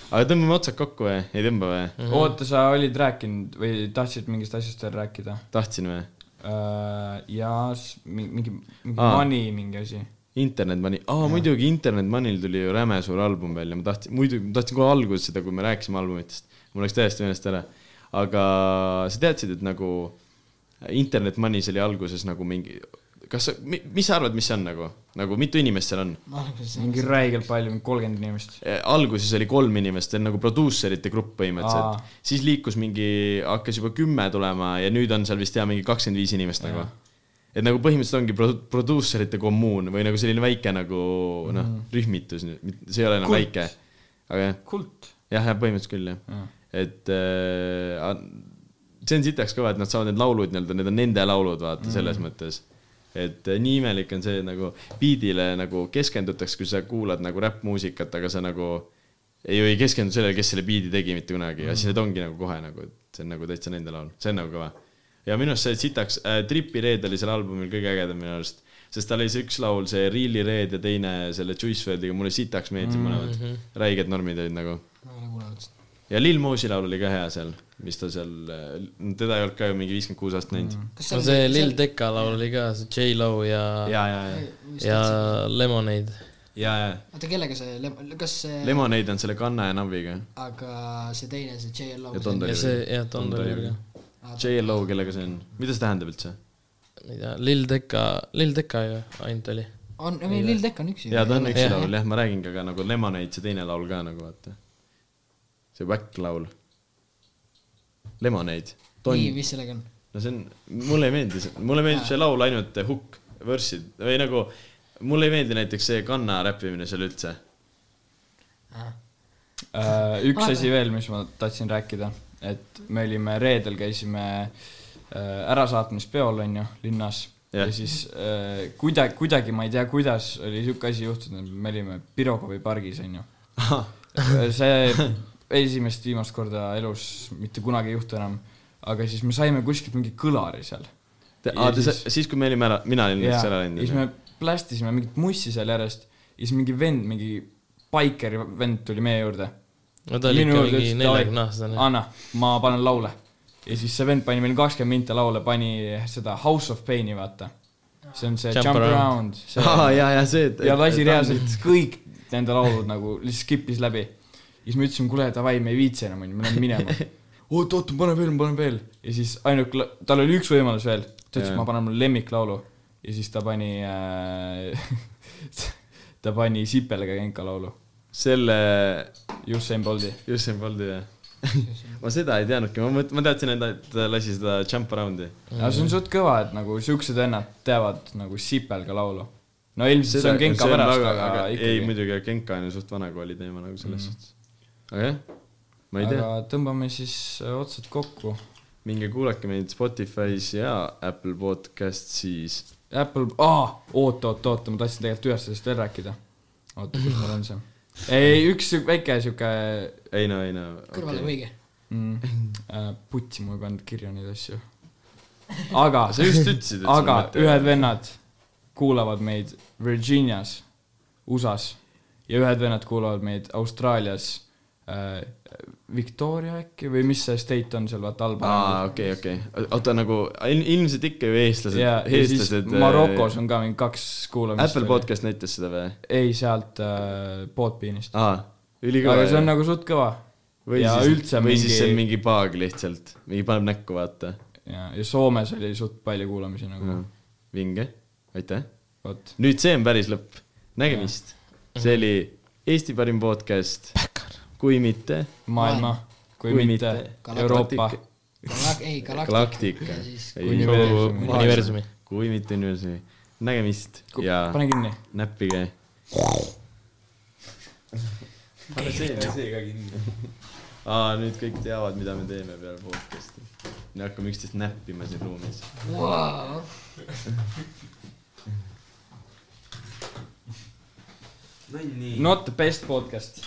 aga tõmbame otsad kokku või , ei tõmba või ? Mhm. oota , sa olid rääkinud või tahtsid mingist asjast veel rääkida ? tahtsin või ? ja s- mi- mingi , mingi Aa. money mingi asi . Internet Money , aa muidugi Internet Money'l tuli ju räme suur album välja , ma tahtsin , muidu ma tahtsin kohe alguses seda , kui me rääkisime albumitest , mul läks täiesti meelest ära . aga sa teadsid , et nagu Internet Money's oli alguses nagu mingi , kas sa , mis sa arvad , mis see on nagu , nagu mitu inimest seal on ? ma alguses mingi räigelt palju , mingi kolmkümmend inimest . Eh, alguses oli kolm inimest , see on nagu produusserite grupp Aa. põhimõtteliselt , siis liikus mingi , hakkas juba kümme tulema ja nüüd on seal vist jah , mingi kakskümmend viis inimest nagu . et nagu põhimõtteliselt ongi produ- , produusserite kommuun või nagu selline väike nagu noh , rühmitus , see ei ole enam Kult. väike , aga jah , kult . jah , jah , põhimõtteliselt küll jah Jaa. et äh, a- see on sitaks kõva , et nad saavad need laulud nii-öelda , need on nende laulud , vaata selles mõttes . et äh, nii imelik on see et nagu biidile nagu keskendutakse , kui sa kuulad nagu räppmuusikat , aga sa nagu ei , ei keskendu sellele , kes selle biidi tegi mitte kunagi ja siis need ongi nagu kohe nagu , et see on nagu täitsa nende laul , see on nagu kõva . ja minu arust see sitaks äh, , Tripi Red oli seal albumil kõige ägedam minu arust , sest tal oli see üks laul , see Really Red ja teine selle Juice WRLDiga , mulle sitaks meeldisid mõlemad mm -hmm. , räiged normid olid nagu ma ei ole kuulanud seda . ja Lil Mosi laul oli ka hea seal , mis ta seal , teda ei olnud ka ju mingi viiskümmend kuus aastat näinud mm. . kas no see Lil Tecca laul oli ka , see J-Lo ja , ja , ja , ja , ja Lemonade . ja , ja oota , kellega see Lem- , kas see Lem , Lemonade on selle Kanna ja Naviga . aga see teine , see JLO . Ja Don ja Toliver. see , jah , Don Toliver ka . JLO , kellega see on , mida see tähendab üldse ? ma ei tea , Lil Tecca , Lil Tecca ju ainult oli . on , meil Lil Tecca on üks ju . ja ta on üks Jah. laul jah , ma räägingi , aga nagu Lemonade , see teine laul ka nagu vaata . see Whack laul . Lemonade . nii , no mis sellega on ? see on , mulle ei meeldi see , mulle meeldib see laul ainult hukk , võrssid või nagu , mulle ei meeldi näiteks see Kanna räppimine seal üldse . Äh, üks asi veel , mis ma tahtsin rääkida , et me olime reedel , käisime äh, ärasaatmispeol , onju , linnas . ja Jah. siis äh, kuidagi , kuidagi , ma ei tea , kuidas oli siuke asi juhtunud , me olime Pirogovi pargis , onju . see esimest , viimast korda elus mitte kunagi ei juhtu enam , aga siis me saime kuskilt mingi kõlari seal Ja aa , te , siis- siis kui me olime ära , mina olin Jaa, näiteks ära läinud . ja siis me plästisime mingit mussi seal järjest ja siis mingi vend , mingi baikeri vend tuli meie juurde . no ta oli ikka mingi neljakümne aastane . anna , ma panen laule . ja siis see vend pani meil kakskümmend minti laule , pani seda House of Pain'i , vaata . see on see Jump Jump, jump Around. Around, *laughs* aa , around. . ja , ja see , et . ja lasi . reaalselt kõik nende laulud nagu lihtsalt skip'is läbi . ja siis me ütlesime , kuule davai , me ei viitsi enam , onju , me lähme minema . *laughs* oot , oot , ma panen veel , ma panen veel . ja siis ainuke , tal oli üks võimalus veel . ta ütles , Jaa. ma panen mu lemmiklaulu . ja siis ta pani äh, , *laughs* ta pani Sipelga Genka laulu . selle , Usain Bolti . Usain Bolti jah . *laughs* ma seda ei teadnudki , ma mõt- , ma teadsin , et ta- et ta lasi seda jump around'i . no see on suht kõva , et nagu siuksed vennad teavad nagu Sipelga laulu . no ilmselt see on Genka pärast , aga, aga ei , ikkagi . muidugi , Genka on ju suht vana kooli teema nagu selles mm. suhtes . aga jah , ma ei aga tea , tõmbame siis äh, otsad kokku minge kuulake meid Spotify's ja Apple Podcast'is . Apple , aa , oota , oota , oota , ma tahtsin tegelikult ühest asjast veel rääkida . oota , kus mul on see ? ei , üks siu- väike sihuke ei no , ei no . kõrvalepõige . mm, , äh, putsi , ma ei pannud kirja neid asju . aga , sa just *laughs* ütlesid , et aga sul mõte- ühed vennad , kuulavad meid Virginias , USA-s ja ühed vennad kuulavad meid Austraalias äh, , Victoria äkki või mis see state on seal , vaata aa , Alba . okei , okei . oota , nagu il- ilmselt ikka ju eestlased , ja , ja siis eestlased . Marokos on ka mingi kaks kuulamist . Apple podcast näitas seda või ? ei , sealt äh, Podbeanist . aa , ülikõva . aga see on nagu suht kõva . või ja siis , üldse või mingi, siis see on mingi paag lihtsalt , mingi paneb näkku , vaata . ja , ja Soomes oli suht palju kuulamisi nagu mm. , vinge , aitäh . vot . nüüd see on päris lõpp , nägemist . see oli Eesti parim podcast . kui mitte , maailma , kui, kui mitte, mitte Euroopa . Galak- , ei , galaktika . galaktika Ja siis- . universumi . kui mitte universumi . nägemist ja pane kinni . näppige pane see , see ka kinni . aa , nüüd kõik teavad , mida me teeme peale podcast'i . me hakkame üksteist näppima siin ruumis . Wow. no nii . Not the best podcast